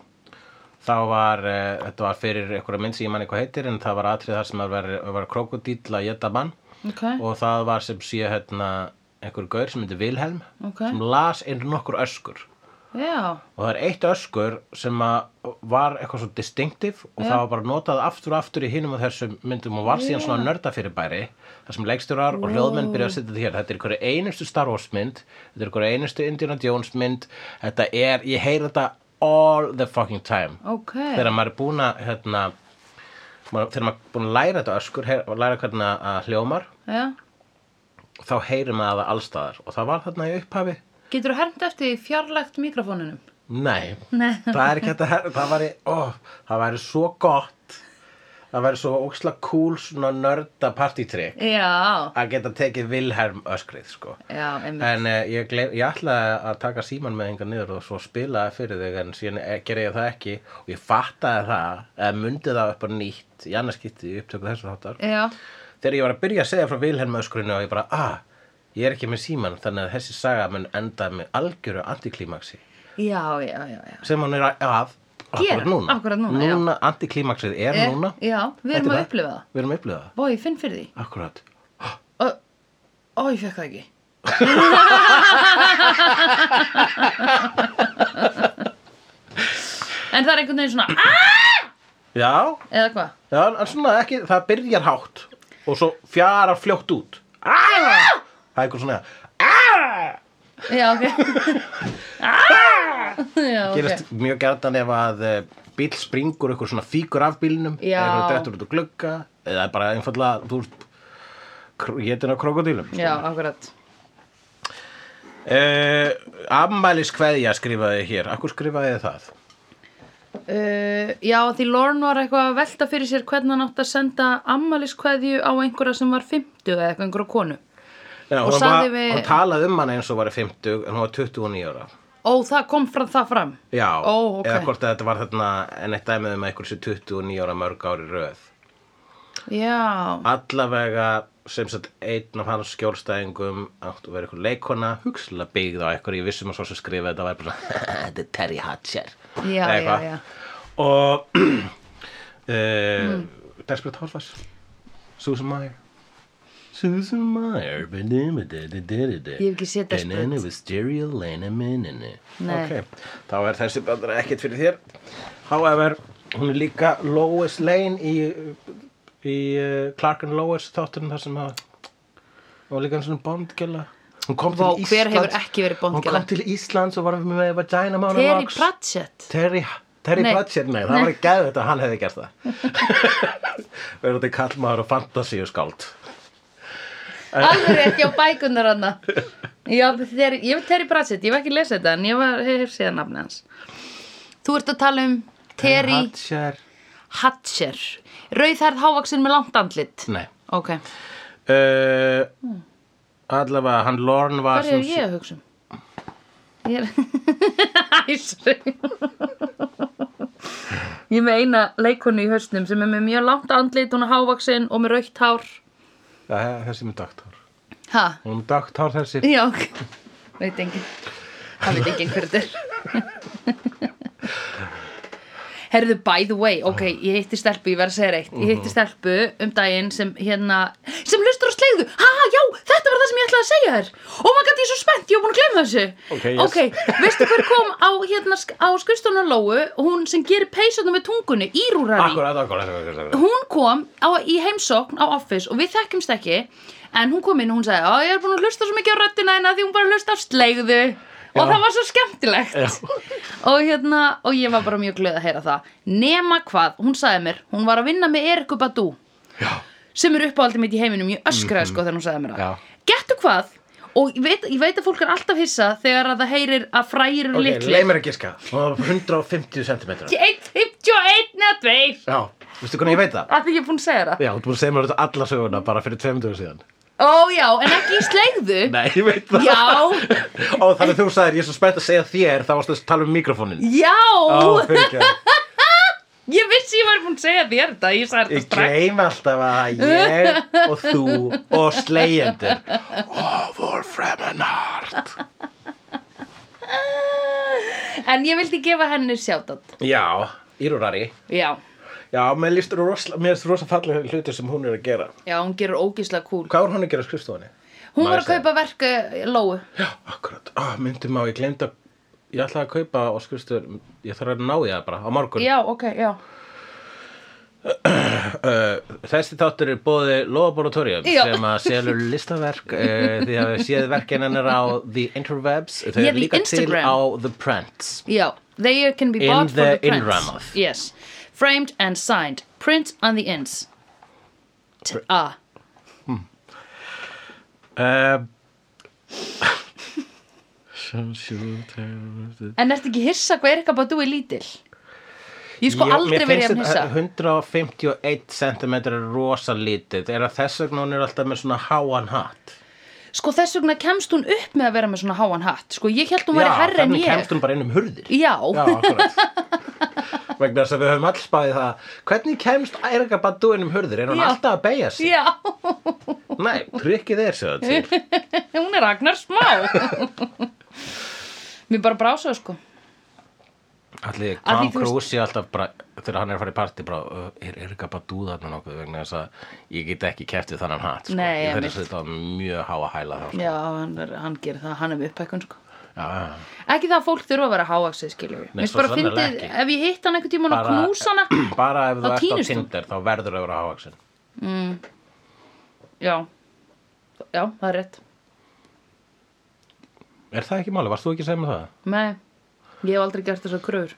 [SPEAKER 3] þá var uh, þetta var fyrir einhverja mynd sem ég mann eitthvað heitir en það var atrið þar sem að var, var krokodíll að geta mann
[SPEAKER 1] ok,
[SPEAKER 3] og það var sem sé hérna einhver gaur sem heitir Vilhelm
[SPEAKER 1] Ok.
[SPEAKER 3] sem las inn nokkur öskur
[SPEAKER 1] já
[SPEAKER 3] og það er eitt öskur sem að var eitthvað svo distinctive og það var bara notað aftur og aftur í hinum og þessum myndum og var síðan svona nörda fyrirbæri þar sem leikstjórar og hljóðmenn byrja að setja þetta hér þetta er einhverja einustu Star Wars mynd þetta er einhverja einustu Indiana Jones mynd þetta er, ég heyri þetta all the fucking time
[SPEAKER 1] ok,
[SPEAKER 3] þegar maður er búin að hérna, maður, þegar maður er búin að læra þetta öskur heyr, og læra hvernig að- að hljómar
[SPEAKER 1] já
[SPEAKER 3] þá heyrir maður það allstaðar og það var þarna í upphafi
[SPEAKER 1] Getur þú hermt eftir því fjarlægt mikrofónunum?
[SPEAKER 3] Nei,
[SPEAKER 1] Nei.
[SPEAKER 3] það er ekki hægt að her- það væri, ó, það væri svo gott það væri svo óksla cool svona nörda partytrick
[SPEAKER 1] Já,
[SPEAKER 3] að geta tekið Vilhelm öskrið sko.
[SPEAKER 1] já, einmitt.
[SPEAKER 3] en uh, ég, glem, ég ætlaði að taka síman með enga niður og svo spilaði fyrir þig en síðan eh, gerði ég það ekki og ég fattaði það, eða mundi það upp á nýtt í annarskipti í upptöku þessu þáttar
[SPEAKER 1] Já,
[SPEAKER 3] þegar ég var að byrja að segja frá Vilhelm öskurinu og ég bara, ah, ég er ekki með síman þannig að þessi saga mun enda með algjöru antiklímaksi
[SPEAKER 1] já, já, já, já.
[SPEAKER 3] sem hann er að að-
[SPEAKER 1] Gera,
[SPEAKER 3] akkúrat núna,
[SPEAKER 1] akkúrat núna, já.
[SPEAKER 3] núna antiklímaksið er
[SPEAKER 1] Eh,
[SPEAKER 3] núna
[SPEAKER 1] Já, við erum
[SPEAKER 3] Þetta er
[SPEAKER 1] að upplifa það.
[SPEAKER 3] við erum að upplifa það,
[SPEAKER 1] Bó, ég finn fyrir því.
[SPEAKER 3] akkurat
[SPEAKER 1] Ó, ó, ég fekk það ekki. en það er einhvern veginn svona, "Ah!"
[SPEAKER 3] já,
[SPEAKER 1] eða hvað?
[SPEAKER 3] já, en svona ekki það byrjar hátt og svo fjarar fljótt út ah! það er eitthvað svona ah!
[SPEAKER 1] Já, ok. ah! Já, ok.
[SPEAKER 3] gerist mjög gertan ef að eh, bíll springur ykkur svona fíkur af bílnum
[SPEAKER 1] Já.
[SPEAKER 3] eða eitthvað dettur út og glugga eða bara einfallega, þú veist kr- hétin á krokodílum sko.
[SPEAKER 1] Já, akkurat.
[SPEAKER 3] Uh, ammælis kveðja skrifaði ég hér Akkur skrifaði ég það?
[SPEAKER 1] Uh, já, því Lorne var eitthvað að velta fyrir sér hvernig hann átt að senda ammaliskveðju á einhverja sem var 50 eða eitthvað einhverja konu.
[SPEAKER 3] Já,
[SPEAKER 1] Og
[SPEAKER 3] hún,
[SPEAKER 1] sagði
[SPEAKER 3] var,
[SPEAKER 1] við-
[SPEAKER 3] hún talaði um hann eins og var 50 en hún var 29 ára
[SPEAKER 1] Ó, það kom fram það fram.
[SPEAKER 3] Já,
[SPEAKER 1] Ó, ok.
[SPEAKER 3] eða hvort að þetta var þarna en eitt dæmið um að einhver sé 29 ára mörg ári röð
[SPEAKER 1] Já,
[SPEAKER 3] Allavega sem sagt einn af hans skjólstæðingum áttu að vera einhver leikona hugslega byggð á einhver, ég vissum að svo sem skrifaði þetta var bara svona, þetta er Terry Hatcher
[SPEAKER 1] já,
[SPEAKER 3] Eða
[SPEAKER 1] já,
[SPEAKER 3] eitthvað.
[SPEAKER 1] já.
[SPEAKER 3] og uh,
[SPEAKER 1] Mm.
[SPEAKER 3] Desperate Housewives Susan Meyer Susan Meyer Ég
[SPEAKER 1] Ég hef ekki séð Desperate.
[SPEAKER 3] And then it was Jerry Lane and Minnie
[SPEAKER 1] Nei.
[SPEAKER 3] Ok, þá er þessi bandar ekkert fyrir þér However, Hún er líka Lois Lane í, í uh, Clark and Lois þátturinn þar sem að hún var líka eins og bondgjöla Hún kom
[SPEAKER 1] Vá,
[SPEAKER 3] til
[SPEAKER 1] hver
[SPEAKER 3] Íslands
[SPEAKER 1] hefur ekki verið
[SPEAKER 3] Hún kom
[SPEAKER 1] bondgjöla?
[SPEAKER 3] til Íslands og var með vagina mánu
[SPEAKER 1] Terry Pratchett.
[SPEAKER 3] Terry, Terry
[SPEAKER 1] Nei.
[SPEAKER 3] Pratchett, nei, það
[SPEAKER 1] Nei.
[SPEAKER 3] var ekki gæðið þetta að hann hefði gert það Verður þetta kallmaður og fantasíu skáld Eh.
[SPEAKER 1] Alveg rétt hjá bækunar hann Já, þeir, ég var Terry Pratchett, ég var ekki að lesa þetta en ég var, hef, hef séð nafni hans Þú ert að tala um Terry
[SPEAKER 3] Hatcher
[SPEAKER 1] Hatcher Rauðhærð hávaksin með langt andlit
[SPEAKER 3] Nei
[SPEAKER 1] Ok,
[SPEAKER 3] uh, Allavega, hann Lorne
[SPEAKER 1] hvað
[SPEAKER 3] var
[SPEAKER 1] Hmm. er
[SPEAKER 3] sem
[SPEAKER 1] ég að hugsa um? Ég er Æsri Ég er með eina leikonu í hausnum sem er með mjög langt andlit, hún er hávaksin og með rautt hár
[SPEAKER 3] Ja, Þessi með dagtár
[SPEAKER 1] Ha?
[SPEAKER 3] Hún er með dagtár þessi
[SPEAKER 1] Já, ok Veit enginn Það veit enginn hver þetta er Herðu, by the way, ok, ég hitti stelpu, ég verð að segja þér eitt Ég hitti
[SPEAKER 3] Mhm.
[SPEAKER 1] stelpu um daginn sem hérna Sem hlustur á slegðu Ha, já, þetta var það sem ég ætlaði að segja þér Oh my god, ég er svo spennt, ég var búin að glemma þessu
[SPEAKER 3] Ok, yes.
[SPEAKER 1] Ok, veistu hver kom á, hérna, sk- á skrifstofunar Lóu Hún sem gerir peysunum með tungunni, írúrari
[SPEAKER 3] Akkurat, akkurat, akkurat, akkurat.
[SPEAKER 1] hún kom á, í heimsókn á Office og við þekkjumst ekki en hún kom inn og hún sagði að ég er búin að hlusta svo mikið á röddina hennar því hún bara hlusta á slegðu og það var svo skemmtilegt og hérna, og ég var bara mjög glöð að heyra það nema hvað, hún sagði mér hún var að vinna með Eriku Badú sem er uppáhaldið mitt í heiminum, ég öskraði sko þegar hún sagði mér
[SPEAKER 3] Mhm. Já.
[SPEAKER 1] það gettu hvað, og ég veit, ég veit að fólk er alltaf hissa þegar að það heyrir að frægir eru
[SPEAKER 3] Ok,
[SPEAKER 1] litlir
[SPEAKER 3] leið mér að giska Hún var 150 cm
[SPEAKER 1] 1,51 eða 2
[SPEAKER 3] Já, veistu hvernig ég veit það?
[SPEAKER 1] að því ég er búin að segja það
[SPEAKER 3] Já, þú ert búin að segja mér þetta alla söguna bara fyrir tveim dögum síðan
[SPEAKER 1] Ó já, en ekki í slegðu
[SPEAKER 3] Nei, ég veit það
[SPEAKER 1] Já,
[SPEAKER 3] Ó, þannig þú sagðir, ég er svo spennt að segja þér þá varstu að tala um mikrofónin
[SPEAKER 1] já
[SPEAKER 3] Ó, fyrirgefðu.
[SPEAKER 1] Ég vissi ég var búin að segja þér þetta Ég sagði
[SPEAKER 3] Ég
[SPEAKER 1] þetta strax
[SPEAKER 3] gleym alltaf að ég og þú og slegjendur og vor fremenart
[SPEAKER 1] En ég vildi gefa henni sjátt
[SPEAKER 3] Já, írurari
[SPEAKER 1] Já,
[SPEAKER 3] Já, mér líst rosla, mér er rosa fallega hluti sem hún er að gera
[SPEAKER 1] já, hún gerur ógíslega kúl
[SPEAKER 3] Hvað var hún að gera á skrifstofunni?
[SPEAKER 1] Hún var
[SPEAKER 3] Maður
[SPEAKER 1] að kaupa verku Lóu
[SPEAKER 3] Já, akkurat, ah, myndum á, ég gleymd að ég ætlaði að kaupa á skrifstofunni ég þarf að ná í það bara á morgun
[SPEAKER 1] Já, ok, já
[SPEAKER 3] uh, Þessi þáttur er bóði Lóaboratorium
[SPEAKER 1] Já.
[SPEAKER 3] sem að selur listaverk uh, því að við séð verkin hennar á The Interwebs þau
[SPEAKER 1] Já,
[SPEAKER 3] eru
[SPEAKER 1] The
[SPEAKER 3] líka
[SPEAKER 1] Instagram.
[SPEAKER 3] til á The Prints
[SPEAKER 1] Já, they can be
[SPEAKER 3] In
[SPEAKER 1] bought for
[SPEAKER 3] the
[SPEAKER 1] the print
[SPEAKER 3] in-Ramoth.
[SPEAKER 1] Yes, framed and signed Print on the ins T A
[SPEAKER 3] Um, Some shoot Ég
[SPEAKER 1] En ertu ekki hissa hvað Erika Badú er lítil? Ég sko aldrei verið að hissa
[SPEAKER 3] 151 cm er rosa lítið er að þess vegna hún er alltaf með svona háan hatt
[SPEAKER 1] Sko þess vegna kemst hún upp með að vera með svona háan hatt Sko ég held hún væri herri en
[SPEAKER 3] þannig
[SPEAKER 1] ég
[SPEAKER 3] kemst hún bara inn um hurðir
[SPEAKER 1] Já,
[SPEAKER 3] Já, akkurat vegna þess að við höfum alls bæðið það hvernig kemst Erika Badú inn um hurðir er hún
[SPEAKER 1] Já.
[SPEAKER 3] alltaf að beigja sig
[SPEAKER 1] já,
[SPEAKER 3] Nei, prikkið er sér það til
[SPEAKER 1] hún er Ragnar smá Mér bara brásaðu sko
[SPEAKER 3] Allir
[SPEAKER 1] Að því
[SPEAKER 3] Tom
[SPEAKER 1] þú veist-
[SPEAKER 3] Cruise sé alltaf bara þegar hann er að fara í partí bara, "Ö, er, er ekki bara dúða þarna nokkuð vegna þess að ég get ekki keft við þannan hatt sko.
[SPEAKER 1] Nei,
[SPEAKER 3] ég
[SPEAKER 1] einmitt.
[SPEAKER 3] þarf að setja á mjög háa hæla þá sko.
[SPEAKER 1] Já, hann, er, hann gerir það, hann er með upphækkun sko
[SPEAKER 3] já, já, já.
[SPEAKER 1] Ekki það að fólk þurfa að vera háaksið skiljum við
[SPEAKER 3] Nei,
[SPEAKER 1] Mér finnst
[SPEAKER 3] svo
[SPEAKER 1] bara
[SPEAKER 3] sannarlega
[SPEAKER 1] fyndið,
[SPEAKER 3] ekki.
[SPEAKER 1] ef ég hitt hann einhvern tímann og
[SPEAKER 3] Bara-
[SPEAKER 1] knús hana
[SPEAKER 3] bara ef
[SPEAKER 1] Þá
[SPEAKER 3] þú ert á
[SPEAKER 1] týnist þú.
[SPEAKER 3] Tinder þá verður að vera hávaksin
[SPEAKER 1] Já, já, það er rétt
[SPEAKER 3] er það ekki máli, varst þú ekki að segja með það?
[SPEAKER 1] Nei, ég hef aldrei gert þessar kröfur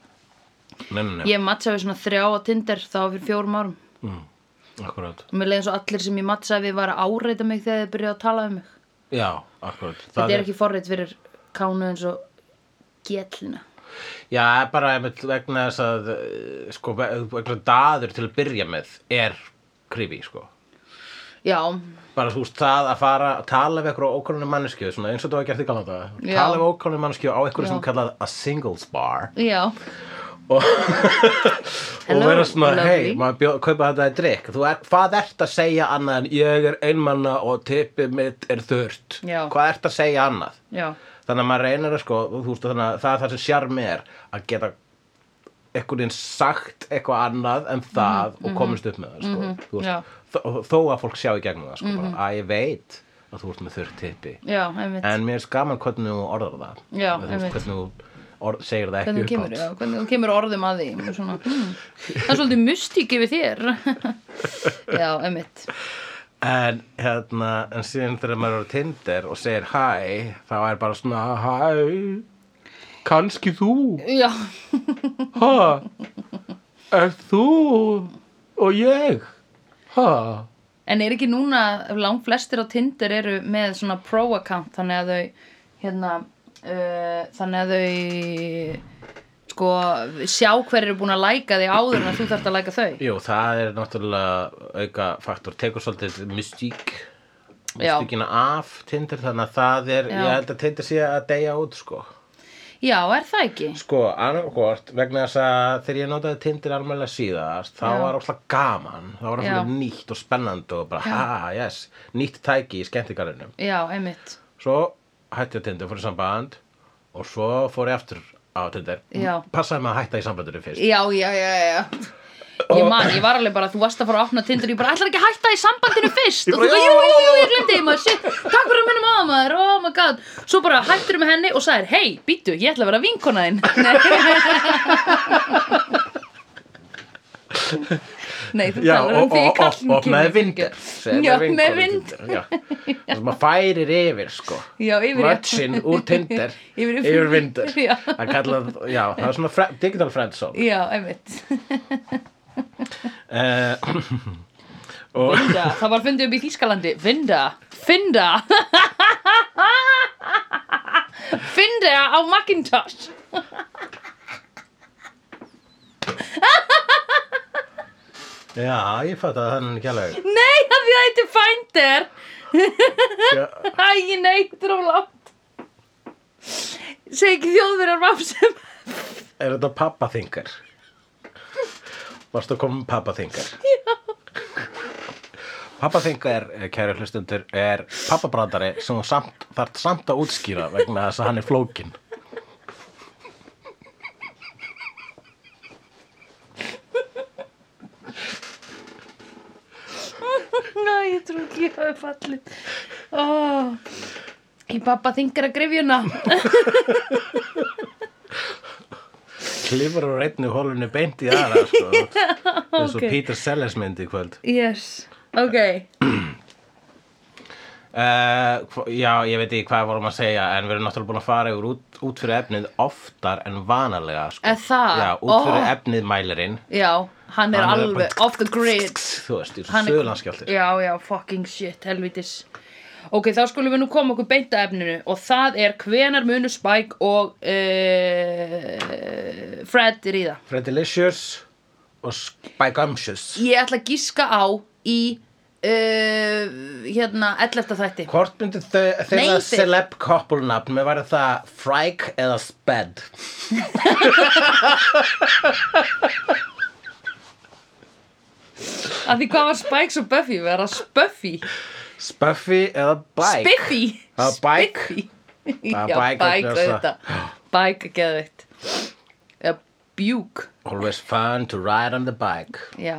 [SPEAKER 3] Nei, nei, nei,
[SPEAKER 1] Ég matchaði við svona þrjá á Tinder þá fyrir fjórum árum
[SPEAKER 3] akkurat
[SPEAKER 1] Og mér leiði svo allir sem ég matchaði við var að áreita mig þegar þið byrjuðu að tala um mig
[SPEAKER 3] já, akkurat
[SPEAKER 1] Þetta er ekki forrið fyrir kánu eins og gellina.
[SPEAKER 3] já, bara einmitt vegna þess að eh, sko, ve- vegna daður til að byrja með er creepy sko
[SPEAKER 1] Já,
[SPEAKER 3] bara þú veist það að fara að tala við einhverju ókvæmni manneskju svona eins og þú hafa gert í galan það
[SPEAKER 1] Já.
[SPEAKER 3] tala við ókvæmni manneskju á einhverju sem
[SPEAKER 1] Já.
[SPEAKER 3] kallað a singles bar
[SPEAKER 1] já,
[SPEAKER 3] og
[SPEAKER 1] Hello,
[SPEAKER 3] vera svona, hei,
[SPEAKER 1] lovely.
[SPEAKER 3] maður bjóð, kaupa þetta í drikk þú er, hvað ert að segja annað en ég er einmanna og tippið mitt er þurrt
[SPEAKER 1] Já.
[SPEAKER 3] hvað ert að segja annað
[SPEAKER 1] já,
[SPEAKER 3] þannig að maður reynir að sko þú veist þannig að það er það sem sjarmi er að geta einhvern veginn sagt eitthvað annað en það og komist upp með það sko. Þú
[SPEAKER 1] Mhm. já. Mhm.
[SPEAKER 3] veist, þó, þó að fólk sjá í gegnum það sko, bara, að ég veit að þú ert með þurrt tippi
[SPEAKER 1] já, einmitt.
[SPEAKER 3] en mér er skaman hvernig þú orðar það
[SPEAKER 1] Já,
[SPEAKER 3] Þú veist,
[SPEAKER 1] einmitt.
[SPEAKER 3] hvernig þú orð, segir það
[SPEAKER 1] hvernig þú
[SPEAKER 3] ekki
[SPEAKER 1] kemur, já, hvernig þú kemur orðum að því og svona, hmm, það er svolítið mystík yfir þér já, emmitt
[SPEAKER 3] En hérna, en síðan þegar maður er á Tinder og segir hæ, þá er bara svona hæ, kannski þú,
[SPEAKER 1] já,
[SPEAKER 3] ha, er þú og ég, ha.
[SPEAKER 1] en er ekki núna langt flestir á Tinder eru með svona pro-account þannig að þau hérna, uh, þannig að þau sko, sjá hver eru búin að læka þig áður en að þú þarft að læka þau
[SPEAKER 3] Jú, það er náttúrulega auka faktor, tekur svolítið mystík,
[SPEAKER 1] Já.
[SPEAKER 3] mystíkina af Tinder, þannig að það er,
[SPEAKER 1] Já.
[SPEAKER 3] ég held að Tinder sé að deyja út, sko.
[SPEAKER 1] já, er það ekki?
[SPEAKER 3] Sko, annarkort, vegna þess að þegar ég notaði Tinder almennlega síðast, þá
[SPEAKER 1] Já.
[SPEAKER 3] var alltaf gaman, þá var alltaf
[SPEAKER 1] Já.
[SPEAKER 3] nýtt og spennandi og bara, ha, yes, nýtt tæki í skemmtikarunum.
[SPEAKER 1] já, emmitt
[SPEAKER 3] Svo hætti ég á Tinder, fór í samband og svo fór ég aftur á Tinder.
[SPEAKER 1] Já.
[SPEAKER 3] Passaði maður að hætta í sambandinu fyrst.
[SPEAKER 1] Já, já, já, já Ég man, ég var alveg bara, þú varst að fara að opna Tinder Ég bara, ætlar ekki að hætta í sambandinu fyrst
[SPEAKER 3] Ég
[SPEAKER 1] Og þú
[SPEAKER 3] bara,
[SPEAKER 1] bara,
[SPEAKER 3] já,
[SPEAKER 1] jú, jú, jú, ég glemdi því maður Shit, takk fyrir að minnum á það, maður, oh my god Svo bara hættir með henni og sagðir Hei, býtu, ég ætla að vera vinkona þinn Nei, þú
[SPEAKER 3] Já,
[SPEAKER 1] talar
[SPEAKER 3] og,
[SPEAKER 1] um því
[SPEAKER 3] og, og,
[SPEAKER 1] kallinn
[SPEAKER 3] og með
[SPEAKER 1] kemur,
[SPEAKER 3] vind
[SPEAKER 1] fyrirgefðu. Já, með vind
[SPEAKER 3] Já, þess að maður færir yfir, sko
[SPEAKER 1] Já, yfir í-
[SPEAKER 3] Mötsin úr Tinder
[SPEAKER 1] Yfir í
[SPEAKER 3] yfir
[SPEAKER 1] vind.
[SPEAKER 3] vindur
[SPEAKER 1] Já.
[SPEAKER 3] Það kallað, já, það er svona fre- digital friend zone
[SPEAKER 1] Já, einmitt
[SPEAKER 3] Eh, og
[SPEAKER 1] Vinda, það var fundið upp í Þýskalandi Vinda, Finda Finda á Macintosh
[SPEAKER 3] já, ég fatt að það er ekki alveg
[SPEAKER 1] Nei, af því að þetta er Finder
[SPEAKER 3] Já.
[SPEAKER 1] Æ, ég neitt og langt Segi ekki þjóðverjar vafsum
[SPEAKER 3] er þetta pappaþingar varstu að koma með pappaþingar já pappaþingar, eh, kæru hlustundur er pappabrandari sem þú samt, þarft samt að útskýra vegna þess að hann er flókin
[SPEAKER 1] Næ, ég trú ekki að hafa fallið Ó, Í pappa þingar að grifjuna
[SPEAKER 3] klifur úr einni hólunni beint í aðra sko. eins og
[SPEAKER 1] ok.
[SPEAKER 3] Peter Sellers myndi í kvöld
[SPEAKER 1] Yes, ok
[SPEAKER 3] Uh, já, ég veit ekki hvað vorum að segja en við erum náttúrulega búin að fara yfir út, út fyrir efnið oftar en vanalega sko.
[SPEAKER 1] Er það?
[SPEAKER 3] Já, út fyrir
[SPEAKER 1] Ó.
[SPEAKER 3] efnið mælirinn
[SPEAKER 1] Já, hann er
[SPEAKER 3] Hann er
[SPEAKER 1] alveg
[SPEAKER 3] bara-
[SPEAKER 1] off the grid
[SPEAKER 3] Þú veist, í
[SPEAKER 1] Hann er-
[SPEAKER 3] söðlanskjáltir
[SPEAKER 1] Já, já, fucking shit, helvitis Ok, þá skulum við nú koma okkur beinta efninu og það er hvenar munu Spike og uh, Fred ríða
[SPEAKER 3] Fredelicious og Spikeumtious
[SPEAKER 1] Ég ætla að gíska á í uh, hérna 11. þætti
[SPEAKER 3] Hvort myndu þau,
[SPEAKER 1] Nei,
[SPEAKER 3] þeirra
[SPEAKER 1] þeir-
[SPEAKER 3] celeb koppulnafn með væri það Frike eða Sped
[SPEAKER 1] Af því hvað var Spike svo Buffy? Var það Spuffy?
[SPEAKER 3] Spuffy eða Bike
[SPEAKER 1] Spiffy?
[SPEAKER 3] Það var Bike.
[SPEAKER 1] Spiffy.
[SPEAKER 3] var
[SPEAKER 1] Já,
[SPEAKER 3] Bike,
[SPEAKER 1] Bike
[SPEAKER 3] vegna þess
[SPEAKER 1] auðvitað Bike, geðveitt Eða Buke
[SPEAKER 3] Always fun to ride on the bike
[SPEAKER 1] Já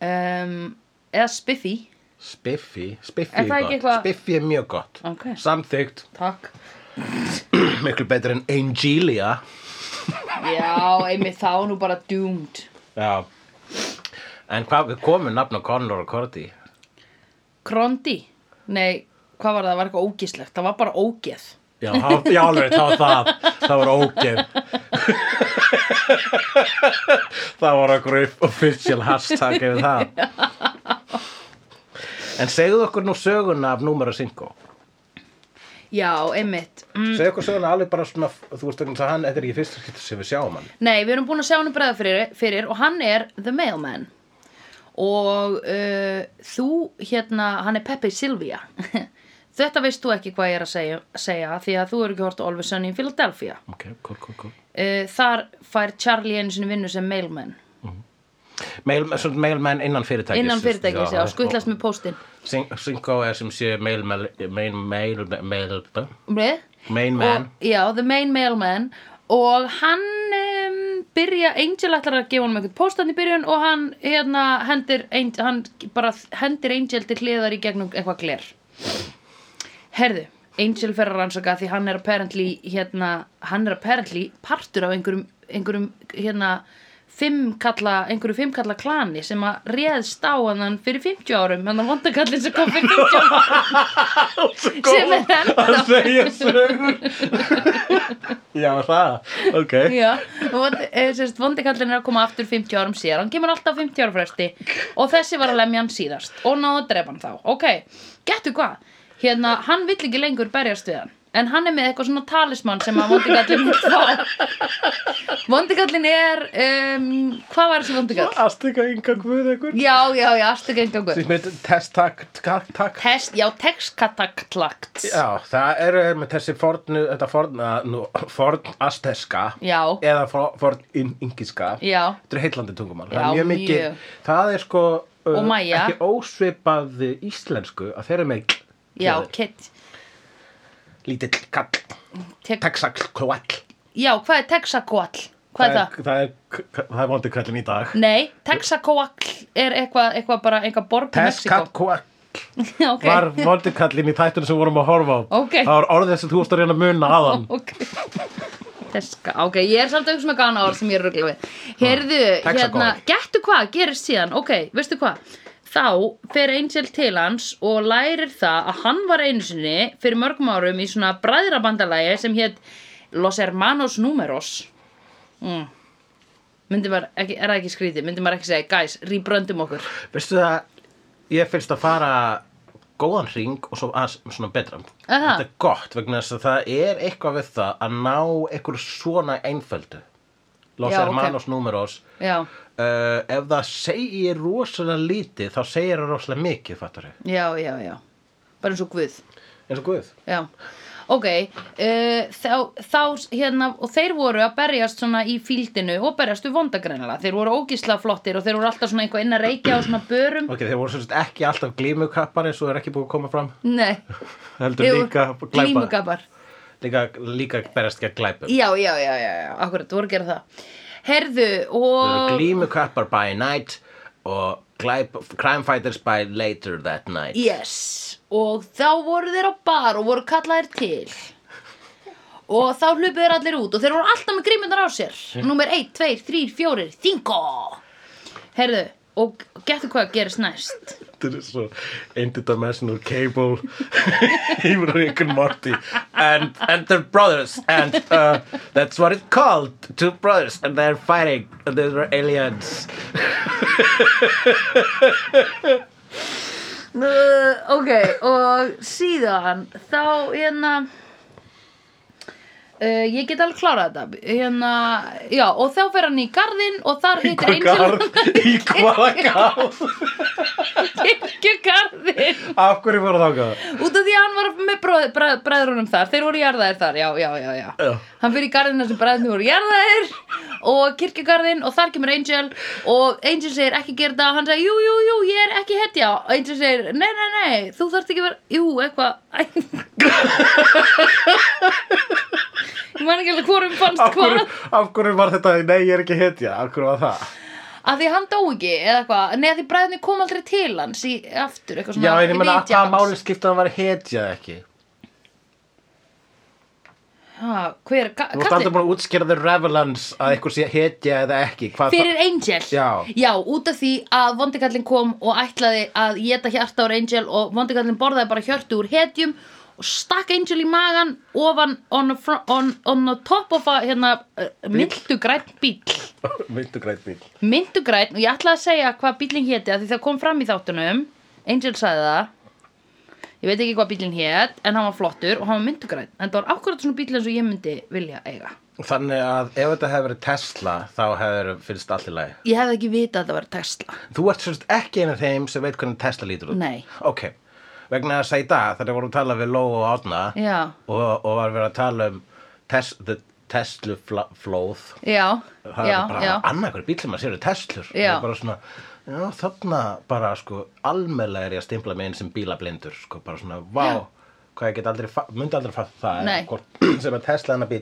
[SPEAKER 1] um, Eða Spiffy
[SPEAKER 3] Spiffy, Spiffy
[SPEAKER 1] Er það
[SPEAKER 3] gott
[SPEAKER 1] ekki eitthvað-
[SPEAKER 3] Spiffy er mjög gott
[SPEAKER 1] Ok.
[SPEAKER 3] Samþykkt,
[SPEAKER 1] Takk
[SPEAKER 3] miklu betur en Angelia
[SPEAKER 1] Já, einmitt þá nú bara doomed
[SPEAKER 3] Já En hvað við komum nafn á Conor og Cordy
[SPEAKER 1] Krondi Nei, hvað var það? Það var eitthvað ógislegt Það var bara ógeð
[SPEAKER 3] Já, há- já alveg, það var það Það var ógeð Það var okkur official hashtag yfir það En segðu okkur nú söguna af númera 5
[SPEAKER 1] Já, einmitt mm.
[SPEAKER 3] Segðu okkur söguna alveg bara svona Þú veist ekki að hann, þetta er ekki fyrst skipti sem við sjáum hann
[SPEAKER 1] Nei, við erum búin að sjá hann bregða fyrir, fyrir Og hann er The Mailman Og uh, þú, hérna, hann er Pepe Silvia Þetta veist þú ekki hvað ég er að segja, segja Því að þú eru ekki hort á Olfur Sönni í Philadelphia
[SPEAKER 3] Ok, cool, cool, cool
[SPEAKER 1] uh, Þar fær Charlie einu sinni vinnu sem Mailman
[SPEAKER 3] Mail, svona mailmenn innan fyrirtækis
[SPEAKER 1] Innan fyrirtækis, já, skuttlast með póstinn
[SPEAKER 3] Syngo er sem sé mailmenn Mailmenn Mailmenn
[SPEAKER 1] Blið?
[SPEAKER 3] Mailmenn
[SPEAKER 1] Um og, já, the main mailman og hann um, byrja, Angel ætlar að gefa hann einhvern póstan í byrjun og hann hérna hendir, Angel, hann bara hendir Angel til hliðar í gegnum eitthvað gler herðu Angel fer að rannsaka því hann er apparently hérna, hann er apparently partur af einhverjum, einhverjum hérna fimmkalla, einhverju fimmkalla klani sem að réðst á hann fyrir 50 árum, hann að vondakallin sem kom fyrir 50 árum sem er
[SPEAKER 3] að
[SPEAKER 1] ennþá
[SPEAKER 3] segja sögur já það, ok
[SPEAKER 1] Já, eh, vondikallin er að koma aftur 50 árum síðar, hann kemur alltaf 50 ára fresti og þessi var að lemja hann síðast og náða að drepa hann þá, ok getur hvað, hérna, hann vill ekki lengur berjast við hann, en hann er með eitthvað svona talisman sem að vondikallin vill fá vondikallin er um, hvað var þessi vondikall?
[SPEAKER 3] Astika ynga guð einhver
[SPEAKER 1] Já, já, já, astu gengangur
[SPEAKER 3] Sem heit test tak, tak, tak.
[SPEAKER 1] Test, já, texkataklakt
[SPEAKER 3] Já, það eru þeir með þessi fornu, þetta forna, nú, forn asteska
[SPEAKER 1] Já,
[SPEAKER 3] eða for- forn in, ingiska
[SPEAKER 1] já,
[SPEAKER 3] Þetta er heillandi tungumál
[SPEAKER 1] Já,
[SPEAKER 3] það, er mjög mikið,
[SPEAKER 1] mjög.
[SPEAKER 3] það er sko
[SPEAKER 1] Og Mæja.
[SPEAKER 3] ekki ósvipað íslensku að þeir eru með
[SPEAKER 1] já,
[SPEAKER 3] hljóðið.
[SPEAKER 1] kett
[SPEAKER 3] lítill kall,
[SPEAKER 1] tek,
[SPEAKER 3] texakl, kvall
[SPEAKER 1] Já, hvað er texakoall? Hvað er það?
[SPEAKER 3] Það er, það er, það er vondi kallin í dag
[SPEAKER 1] Nei, Texacoatl er eitthvað eitthva bara einhvað borg í Mexíkó.
[SPEAKER 3] Teskat kvall
[SPEAKER 1] Já, ok.
[SPEAKER 3] var vondi kallin í tættunum sem vorum að horfa á
[SPEAKER 1] Ok.
[SPEAKER 3] Það var orðið sem þú varst að reyna að muna aðan
[SPEAKER 1] Ok. Teska, ok, ég er samt að hugsa með gana orð sem ég er ruggla við. Heyrðu,
[SPEAKER 3] Texacoatl.
[SPEAKER 1] hérna, gettu hvað, gerist síðan, ok, veistu hvað? Þá fer Angel til hans og lærir það að hann var einu sinni fyrir mörgum árum í svona bræðrabandalagi sem hétt Los Hermanos Números. Mm. Myndi maður, ekki, er það ekki skrítið, myndi maður ekki segja, guys, rýbröndum okkur.
[SPEAKER 3] Veistu það, ég finnst að fara góðan ring og svo að, svona betra
[SPEAKER 1] Aha.
[SPEAKER 3] Þetta er gott vegna þess að það er eitthvað við það að ná einhver svona einföldu Los
[SPEAKER 1] Já, ok.
[SPEAKER 3] Hermanos Números
[SPEAKER 1] Já,
[SPEAKER 3] uh, Ef það segir rosalega lítið þá segir það rosalega mikið, fattar við
[SPEAKER 1] já, já, já. Bara eins og Guð.
[SPEAKER 3] Eins og guð
[SPEAKER 1] Já, ok, uh, þá, þá hérna, og þeir voru að berjast svona í fíldinu og berjast við vondagreinlega, þeir voru ógísla flottir og þeir voru alltaf svona eitthvað inn að reykja á svona börum.
[SPEAKER 3] Ok, þeir voru svolítið ekki alltaf glímukappar eins og er ekki búið að koma fram
[SPEAKER 1] Nei,
[SPEAKER 3] heldur líka glæpa
[SPEAKER 1] glímugabbar.
[SPEAKER 3] líka, líka berjast gegn glæpum
[SPEAKER 1] Já, já, já, já, já, akkurat, voru að gera það. Herðu,
[SPEAKER 3] Þeir eru
[SPEAKER 1] og...
[SPEAKER 3] glímukappar by night og glæp, crime fighters by later that night
[SPEAKER 1] Yes, og þá voru þeir á bar og voru kallaðir til og þá hlupu þeir allir út og þeir voru alltaf með grímyndar á sér Númer 1, 2, 3, 4, þingo Herðu, og getur hvað gerist næst
[SPEAKER 3] Þetta er svo interdimensional cable yfir Rick and Morty and, and they're brothers and uh, that's what it's called two brothers and they're fighting and they're aliens
[SPEAKER 1] uh, Ok, og síðan þá hérna Uh, ég get alveg klárað þetta hérna, já, og þá fer hann í garðinn og þar hittir
[SPEAKER 3] Hvað garð? Í hvaða garð?
[SPEAKER 1] kirkjugarðinn
[SPEAKER 3] Af hverju voru þákað?
[SPEAKER 1] Út af því að hann var með bróð- bræð- bræðrunum þar, þeir voru jarðaðir þar, já, já, já, já.
[SPEAKER 3] Já.
[SPEAKER 1] Hann fyrir í garðina sem bræðrunum voru jarðaðir og kirkjugarðin og þar kemur Angel og Angel segir ekki gera það, hann segir, jú, jú, jú, ég er ekki hetja. Og Angel segir, nei, nei, nei, þú þarft ekki að vera, jú, eitthvað, æ. Ég man ekki alveg hvorum fannst
[SPEAKER 3] Af
[SPEAKER 1] hvað.
[SPEAKER 3] hverju, af hverju var þetta? Nei, ég er ekki hetja. Af hverju var það?
[SPEAKER 1] Að því hann dó ekki, eða eitthvað, nei, að því bræðrunum kom aldrei til hans í aftur, eitthvað
[SPEAKER 3] Já,
[SPEAKER 1] svona.
[SPEAKER 3] en ég meina að
[SPEAKER 1] vitja
[SPEAKER 3] það
[SPEAKER 1] hans.
[SPEAKER 3] máli skipta að hann var hetja eða ekki.
[SPEAKER 1] Ha, hver, ka,
[SPEAKER 3] Þú ert aldrei búin að útskýra the relevance að einhver sé hetja eða ekki. Hvað
[SPEAKER 1] fyrir Angel
[SPEAKER 3] Já.
[SPEAKER 1] út af því að vondikallin kom og ætlaði að geta hjarta úr Angel og vondikallin borðaði bara hjörtu úr hetjum og stakk Angel í magan ofan on, the front, on, on the top of a hérna, uh, myndugræn bíl
[SPEAKER 3] það... Myndu græt bíl.
[SPEAKER 1] myndugræn og ég ætlaði að segja hvað bílinn héti af því það kom fram í þáttunum Angel sagði það ég veit ekki hvað bílinn hét en hann var flottur og hann var myndugræn en það var akkurat svona bíl eins og ég myndi vilja eiga
[SPEAKER 3] Þannig að ef þetta hefur verið Tesla, þá hefur finnst allt í lagi.
[SPEAKER 1] ég hefði ekki vitað að það var Tesla
[SPEAKER 3] Þú ert sérst ekki einu af þeim sem veit hvernig Tesla lítur út.
[SPEAKER 1] Nei.
[SPEAKER 3] Ok. Vegna þess að í dag, þegar vorum að tala við Lóa og Árna
[SPEAKER 1] já,
[SPEAKER 3] og, og var verið að tala um tes, the Tesla fla- flóð
[SPEAKER 1] já,
[SPEAKER 3] það
[SPEAKER 1] já,
[SPEAKER 3] er bara
[SPEAKER 1] já.
[SPEAKER 3] annað hver bíl sem að séu Teslur
[SPEAKER 1] Já.
[SPEAKER 3] það er bara svona já, þarna bara sko almennlega er ég að stimpla með einn sem bílablindur sko bara svona vá hvað ég get aldrei fa- myndi aldrei fatt það
[SPEAKER 1] Nei.
[SPEAKER 3] hvort, sem að Tesla hennar bíl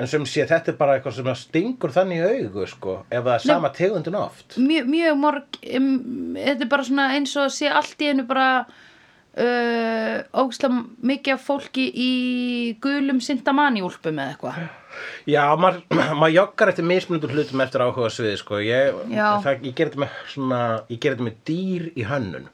[SPEAKER 3] en sem sé þetta er bara eitthvað sem að stingur þannig í augu sko ef það er sama tegundin oft
[SPEAKER 1] mjög, mjög morg um, þetta er bara svona eins og sé allt í einu bara uh, ógislega mikið af fólki í gulum sindamanni úlpum eða eitthvað
[SPEAKER 3] Já, maður mað joggar eftir mismunundum hlutum eftir áhuga sviði, sko. Ég,
[SPEAKER 1] Já.
[SPEAKER 3] það, ég ger þetta með, svona, ég ger þetta með dýr í hönnun.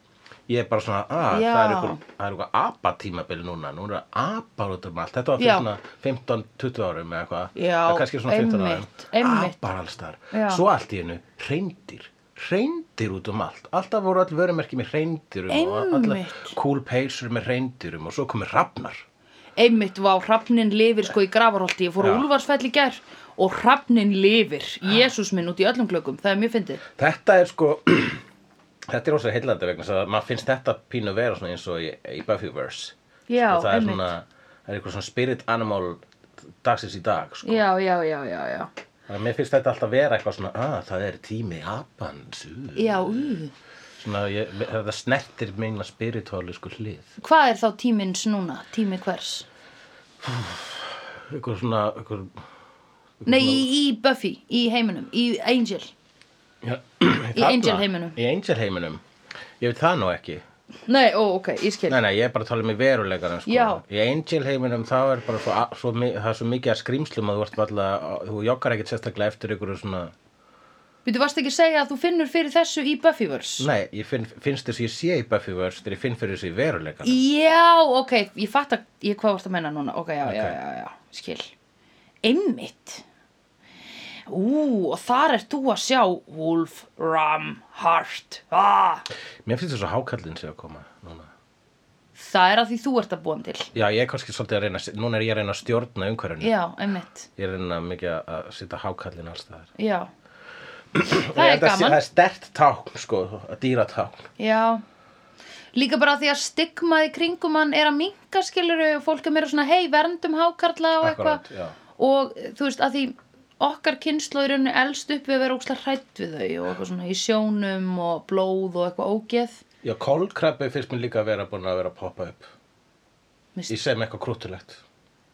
[SPEAKER 3] Ég er bara svona, að,
[SPEAKER 1] Já.
[SPEAKER 3] það er einhver, það er einhver apatímabili núna. Nú eru apar út um allt. Þetta var fyrir
[SPEAKER 1] Já.
[SPEAKER 3] svona 15-20 árum eða eitthvað.
[SPEAKER 1] Já,
[SPEAKER 3] Það er kannski svona 15
[SPEAKER 1] einmitt, einmitt.
[SPEAKER 3] Apar alls þar.
[SPEAKER 1] Já.
[SPEAKER 3] Svo allt í hennu, reyndir. Reyndir út um allt. Alltaf voru all vörumerki með reyndirum og allar
[SPEAKER 1] Einmitt.
[SPEAKER 3] cool peysur með reyndirum og svo komið rafnar.
[SPEAKER 1] einmitt vá, hrafnin lifir sko í gravarholti ég fór á
[SPEAKER 3] Já.
[SPEAKER 1] Úlfarsfell í gær og hrafnin lifir, Jésús minn út í öllum glöggum það er mjög fyndið
[SPEAKER 3] Þetta er sko Þetta er ósveg heillandi vegna þess að maður finnst þetta pínu vera svona eins og í, í Buffyverse
[SPEAKER 1] Já,
[SPEAKER 3] sko, það er
[SPEAKER 1] einmitt.
[SPEAKER 3] svona, það er eitthvað svona spirit animal dagsins í dag sko.
[SPEAKER 1] já, já, já, já, já
[SPEAKER 3] Þannig að mér finnst þetta alltaf vera eitthvað svona að það er tími apans uh."
[SPEAKER 1] já, ú.
[SPEAKER 3] svona, ég, þetta snertir minna spirituáli sko hlið
[SPEAKER 1] hvað er þá tímins núna, tími hvers
[SPEAKER 3] eitthvað svona eitthvað,
[SPEAKER 1] nei, í, í Buffy, í heiminum í Angel,
[SPEAKER 3] já,
[SPEAKER 1] Í
[SPEAKER 3] þarna-
[SPEAKER 1] Angel heiminum.
[SPEAKER 3] hérna. Í Angel heiminum Ég veit það nú ekki
[SPEAKER 1] nei, ó, ok, ég skil
[SPEAKER 3] Nei, nei, ég er bara að tala um í veruleikanum sko.
[SPEAKER 1] Já.
[SPEAKER 3] Í Angel heiminum þá er bara svo, svo, mi- það er svo mikið að skrýmslum að þú ert valla, þú joggar ekkert sérstaklega eftir ykkur svona,
[SPEAKER 1] Býtu, varst ekki að segja að þú finnur fyrir þessu í Buffyverse?
[SPEAKER 3] nei, ég finn, finnst þess að ég sé í Buffyverse þegar ég finn fyrir þessu í veruleikanum.
[SPEAKER 1] Já, ok, ég fatt að, ég hvað varst að menna núna, ok, já, já,
[SPEAKER 3] Ok.
[SPEAKER 1] já, já, skil. Einmitt. Ú, og þar ert þú að sjá Wolf Ram Hart. Ah,
[SPEAKER 3] Mér finnst þess að hákallin sé að koma núna.
[SPEAKER 1] það er að því þú ert að búin til.
[SPEAKER 3] Já, ég er kannski svolítið að reyna, að- núna er ég að reyna að stjórna umhverfinu.
[SPEAKER 1] Já, einmitt,
[SPEAKER 3] Ég er að reyna mikið að- að setja hákallin alls það er.
[SPEAKER 1] já. Það er
[SPEAKER 3] Það
[SPEAKER 1] gaman,
[SPEAKER 3] er stert tákn, sko, að dýra tákn.
[SPEAKER 1] já. Líka bara því að stigmaði kringum hann er að minka, skiluru, fólk er meira svona, hei, verndum hákarla og
[SPEAKER 3] Akkúrat,
[SPEAKER 1] eitthvað.
[SPEAKER 3] já.
[SPEAKER 1] og þú veist að því okkar kynnslóðurinn elst upp við að vera ókslega hrætt við þau og eitthvað svona í sjónum og blóð og eitthvað ógeð
[SPEAKER 3] Já, kólkrabbi finnst mér líka að vera búin að vera að poppa upp.
[SPEAKER 1] Mist-
[SPEAKER 3] Ég sem eitthvað krúttulegt.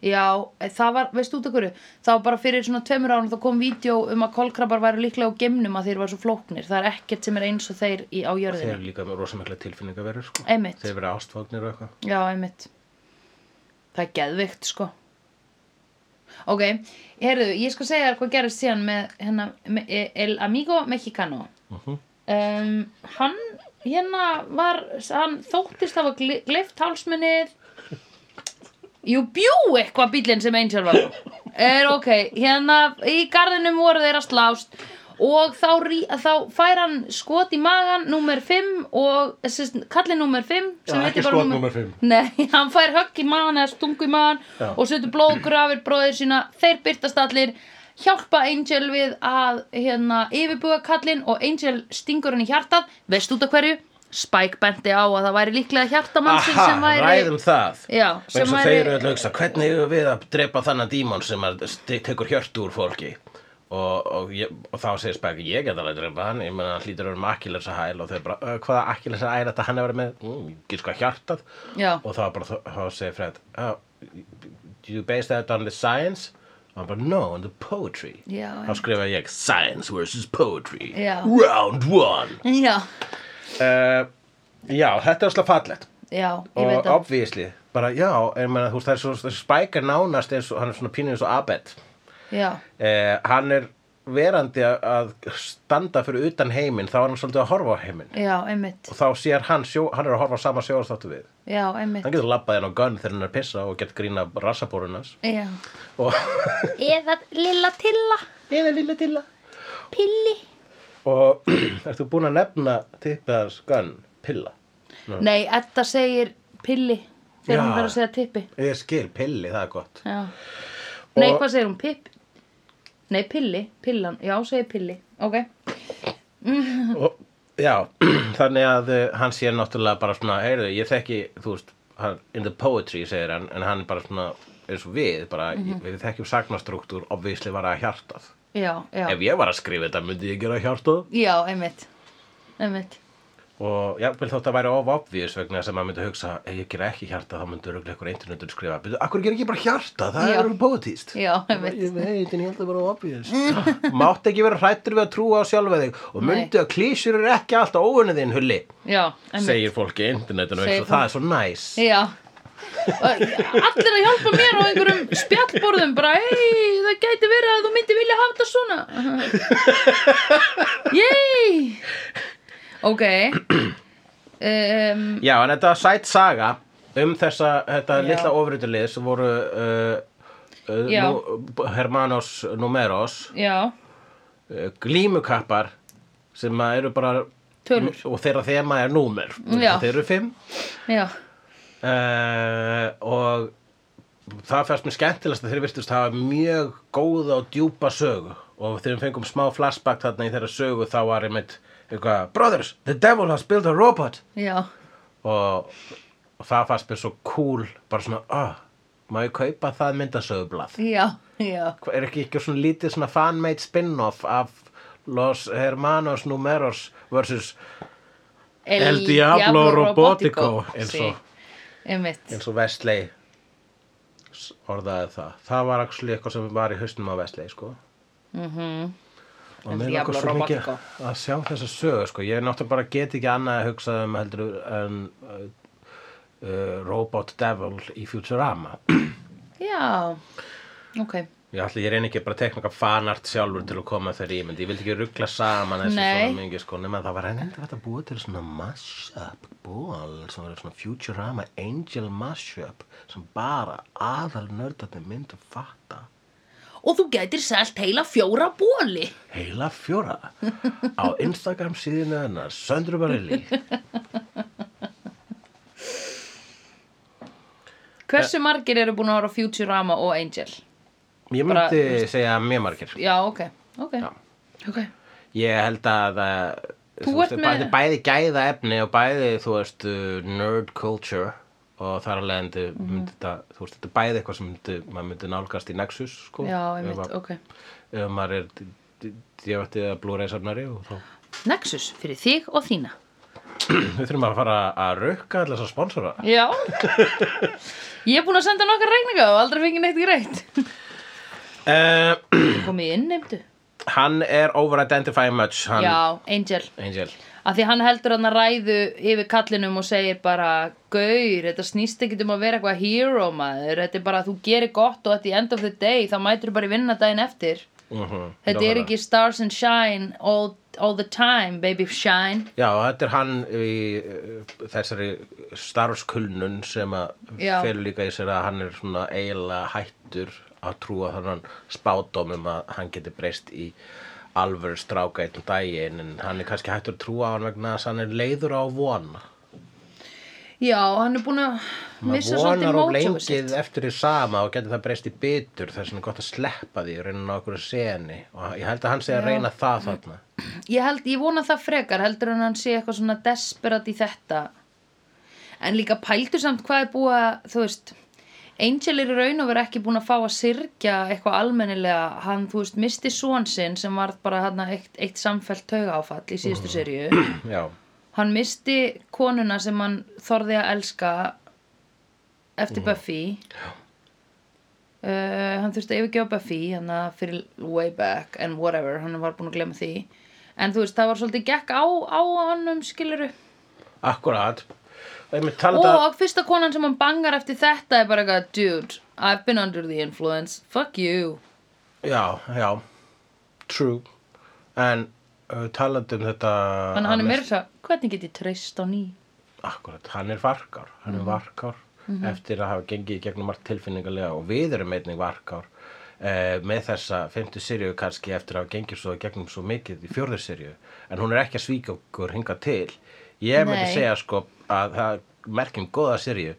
[SPEAKER 1] Já, það var, veistu út af hverju það var bara fyrir svona tveimur ánum þá kom vídeo um að kolkrabbar væru líklega á gemnum að þeir var svo flóknir, það er ekkert sem er eins og þeir í, á
[SPEAKER 3] Þeir
[SPEAKER 1] jörðinu,
[SPEAKER 3] eru líka með rosamikla tilfinningaverður sko.
[SPEAKER 1] Einmitt.
[SPEAKER 3] Þeir vera ástvagnir og eitthvað.
[SPEAKER 1] já, einmitt það er geðvikt, sko Ok, heyrðu, ég skal segja þér hvað gerist síðan með, hérna, með El Amigo Mexicano um, hann hérna var hann þóttist hafa gle- gleypt hálsmennið Jú, bjú eitthvað bílinn sem Angel var á. er ok, hérna í garðinum voru þeir að slást og þá, rí, þá fær hann skot í magan nummer 5 og eh, sérst, kallið nummer 5 sem
[SPEAKER 3] Já,
[SPEAKER 1] heitir
[SPEAKER 3] ekki
[SPEAKER 1] bara
[SPEAKER 3] skot
[SPEAKER 1] númer-
[SPEAKER 3] númer fimm.
[SPEAKER 1] Nei, hann fær högg í magan eða stungu í magan
[SPEAKER 3] Já.
[SPEAKER 1] og setur blóðgrafir bróðir sína, þeir byrtast allir hjálpa Angel við að hérna, yfirbuga kallinn og Angel stingur hann í hjartað, veist út af hverju Spike benti á að það væri líklega hjartamannsinn sem væri
[SPEAKER 3] ræðum það.
[SPEAKER 1] Já,
[SPEAKER 3] sem
[SPEAKER 1] sem
[SPEAKER 3] væri...
[SPEAKER 1] væri-
[SPEAKER 3] Þeir eru alltaf að hugsa, hvernig hefur við að drepa þannan dímon sem að st- tekur hjörtu úr fólki? Og, og, ég, og þá segir Spæk, ég get alveg að drepa hann, ég menna hann hlýtur um Akilesa hæl og þau bara, "Ö, hvaða Akilesa hæl þetta hann hefur verið með? Mm, ég gíska hjartað.
[SPEAKER 1] Já.
[SPEAKER 3] Og þá bara, þá- þá segir Fred, oh, do you base that on the science? Og hann bara, no, on the poetry.
[SPEAKER 1] Já,
[SPEAKER 3] Þá skrifa ég, science versus poetry.
[SPEAKER 1] Já.
[SPEAKER 3] Round one.
[SPEAKER 1] Já,
[SPEAKER 3] Uh, já, þetta er slá fallegt
[SPEAKER 1] já, ég veit
[SPEAKER 3] og
[SPEAKER 1] það
[SPEAKER 3] obvísli, bara já, ég meina, þú veist, það er svo, þessi spæk er nánast eins og hann er svona pínu eins og Abed
[SPEAKER 1] Já,
[SPEAKER 3] uh, hann er verandi að- að standa fyrir utan heiminn, þá er hann svolítið að horfa á heiminn
[SPEAKER 1] já, einmitt
[SPEAKER 3] og þá sér hann, sjó, hann er að horfa á sama sjóðastáttu við
[SPEAKER 1] Já, einmitt
[SPEAKER 3] hann getur labbað inn á gunn þegar hann er að pissa og getur grína rassabórunars
[SPEAKER 1] Já,
[SPEAKER 3] og
[SPEAKER 4] Eða lilla tilla,
[SPEAKER 3] eða lilla tilla
[SPEAKER 4] pilli.
[SPEAKER 3] og ert þú búin að nefna tippaðars gunn, pilla
[SPEAKER 1] nei, Edda segir pilli
[SPEAKER 3] Já.
[SPEAKER 1] þegar hún verður að segja tippi
[SPEAKER 3] ég skil, pilli, það er gott
[SPEAKER 1] Já Nei,
[SPEAKER 3] Og-
[SPEAKER 1] hvað segir hún? Pipp? Nei, pilli, pillan, já, segir pilli Ok,
[SPEAKER 3] og, já, þannig að uh, hann sé náttúrulega bara svona, heyrðu, ég þekki þú veist, hann, in the poetry segir hann, en hann er bara svona, eins og við bara,
[SPEAKER 1] Mhm.
[SPEAKER 3] við þekkjum sagnastruktúr obvísli var að hjartað,
[SPEAKER 1] já, já
[SPEAKER 3] ef ég var að skrifa þetta myndi ég gera hjartað
[SPEAKER 1] Já, einmitt, einmitt
[SPEAKER 3] og jafnvel þótt að væri of obvious vegna þess að maður myndi hugsa ef ég gera ekki hjarta þá myndi öruglega ykkur eintunöndur skrifa "Bíddu, akkur ger ekki bara hjarta, það
[SPEAKER 1] Já.
[SPEAKER 3] er alveg poetist
[SPEAKER 1] Já, einmitt.
[SPEAKER 3] ég veit, en ég held að bara obvious mátt ekki vera hrættur við að trúa á sjálfa þig og
[SPEAKER 1] Nei.
[SPEAKER 3] myndi að klísur eru ekki alltaf óunnið þinn hulli
[SPEAKER 1] Já, einmitt.
[SPEAKER 3] segir fólki í internetinu
[SPEAKER 1] Segir
[SPEAKER 3] og það er svo næs
[SPEAKER 1] Já Og Allir að hjálpa mér á einhverjum spjallborðum bara, hei, það gæti verið að þú myndi vilja hafa þetta svona Yey Ok um,
[SPEAKER 3] Já, en þetta sætt saga um þessa, þetta
[SPEAKER 1] Já.
[SPEAKER 3] litla ofrýtulið sem voru uh, uh,
[SPEAKER 1] Já.
[SPEAKER 3] nú, Hermanos Numeros
[SPEAKER 1] Já,
[SPEAKER 3] uh, glímukappar sem að eru bara
[SPEAKER 1] Tölur.
[SPEAKER 3] og þeirra þema er númer
[SPEAKER 1] Já.
[SPEAKER 3] þeir eru fimm
[SPEAKER 1] já,
[SPEAKER 3] uh, og það fannst mér skemmtilegast að þeir virtust hafa mjög góða og djúpa sögu og þegar við fengum smá flashback þarna í þeirra sögu þá var einmitt eitthvað, brothers, the devil has built a robot
[SPEAKER 1] já
[SPEAKER 3] og, og það fannst mér svo cool bara svona, ah, má ég kaupa það myndasögublað
[SPEAKER 1] Já, já
[SPEAKER 3] Hva- er ekki ekki svona lítið svona fanmade spin-off af Los Hermanos Numeros versus
[SPEAKER 1] El,
[SPEAKER 3] El Diablo Robotico, eins
[SPEAKER 1] sí.
[SPEAKER 3] og-
[SPEAKER 1] Einmitt,
[SPEAKER 3] eins og Vestley orðaði það það var actually eitthvað sem var í hausnum á Vestley sko
[SPEAKER 1] El Mhm.
[SPEAKER 3] og mér
[SPEAKER 1] Diablo
[SPEAKER 3] langar svo mikið
[SPEAKER 1] Robotico.
[SPEAKER 3] að sjá þessa sögu sko. ég náttúrulega bara get ekki annað að hugsa um heldur en uh, uh, Robot Devil í Futurama
[SPEAKER 1] já Ok,
[SPEAKER 3] Ég ætla, ég reyni ekki bara að tekna eitthvað fanart sjálfur til að koma þeirri ímynd. Ég vildi ekki ruggla saman þessu
[SPEAKER 1] Nei.
[SPEAKER 3] svona mingi, sko, nema að það var reyndi að búa til svona mashup ból, sem var svona Futurama Angel mashup, sem bara aðal nördarnir myndu fatta.
[SPEAKER 1] og þú gætir selt heila fjóra bóli
[SPEAKER 3] Heila fjóra á Instagram síðinu hennar, Söndru Barilli. Eh.
[SPEAKER 1] Hversu margir eru búin að horfa á Futurama og Angel?
[SPEAKER 3] Ég myndi
[SPEAKER 1] Bara-
[SPEAKER 3] segja mjög margir.
[SPEAKER 1] Já, ok, ok, ok
[SPEAKER 3] Ég held að það...
[SPEAKER 1] Þú ert
[SPEAKER 3] veist,
[SPEAKER 1] með-
[SPEAKER 3] bæði, bæði gæða efni og bæði, þú veist, uh, nerd culture og þar alveg endi,
[SPEAKER 1] Mhm.
[SPEAKER 3] myndi þetta, þú veist, þetta er bæði eitthvað sem myndi, maður myndi nálgast í Nexus, sko.
[SPEAKER 1] Já,
[SPEAKER 3] Ef
[SPEAKER 1] einmitt,
[SPEAKER 3] að-
[SPEAKER 1] ok
[SPEAKER 3] Ef maður er djöfætti eða Blu-ray safnari og þá.
[SPEAKER 1] Nexus fyrir þig og þína
[SPEAKER 3] Við þurfum að fara að rukka allir þessar sponsora.
[SPEAKER 1] Já Ég er búin að senda nokkar reikninga og aldrei fengið neitt greitt
[SPEAKER 3] Uh,
[SPEAKER 1] Komið inn, nefndu
[SPEAKER 3] hann er over-identify much, hann,
[SPEAKER 1] Já, Angel
[SPEAKER 3] Angel.
[SPEAKER 1] Af því hann heldur hann að ræðu yfir kallinum og segir bara Gaur, þetta snýst ekki um að vera eitthvað hero maður Þetta er bara að þú gerir gott og at the end of the day þá mætur þú bara í vinna daginn eftir
[SPEAKER 3] Uh
[SPEAKER 1] Þetta er ekki stars and shine all, all the time, baby shine
[SPEAKER 3] Já, og þetta er hann í uh, þessari starfskulnun sem að
[SPEAKER 1] Já.
[SPEAKER 3] felur líka í sér að hann er svona eiginlega hættur að trúa þannan spádómum að hann geti breyst í alvöru stráka einn daginn en hann er kannski hættur að trúa á hann vegna þess að hann er leiður á von
[SPEAKER 1] Já, hann er búin að missa
[SPEAKER 3] vonar
[SPEAKER 1] svolítið
[SPEAKER 3] of
[SPEAKER 1] mótjóðu sitt
[SPEAKER 3] lengið eftir því sama og getur það breyst í bitur þess vegna er gott að sleppa því og reyna á okkur seni og ég held að hann sé að reyna það þarna
[SPEAKER 1] Ég held, ég vona það frekar, heldur en hann sé eitthvað svona desperat í þetta. En líka pældu samt hvað er búið að, þú veist, Angel er í raun og verið ekki búin að fá að syrgja eitthvað almennilega. Hann, þú veist, misti són sinn sem var bara hann eitt, eitt samfellt taugáfall í síðustu serju.
[SPEAKER 3] Já,
[SPEAKER 1] Hann misti konuna sem hann þorði að elska eftir Buffy. Uh, hann þurfti að yfirgefa Buffy hann fyrir way back and whatever, hann var búin að glemma því en þú veist, það var svolítið gekk á, á honum skiluru
[SPEAKER 3] akkurat Og einmitt um talandi að-
[SPEAKER 1] og fyrsta konan sem hann bangar eftir þetta er bara eitthvað, dude, I've been under the influence fuck you
[SPEAKER 3] Já, já, true En uh, talandi um þetta
[SPEAKER 1] þannig að hann er meira svo, hvernig get ég treyst á ný
[SPEAKER 3] Akkurat, hann er varkár Hann
[SPEAKER 1] Mhm.
[SPEAKER 3] er varkár eftir að hafa gengið í gegnum margt tilfinningalega og við erum einnig varkár eh, með þessa fymtu sirju kannski eftir að hafa gengið svo í gegnum svo mikið í fjórðu sirju en hún er ekki að svíka okkur hinga til Ég myndi
[SPEAKER 1] Nei.
[SPEAKER 3] segja sko að það er merkjum góða sirju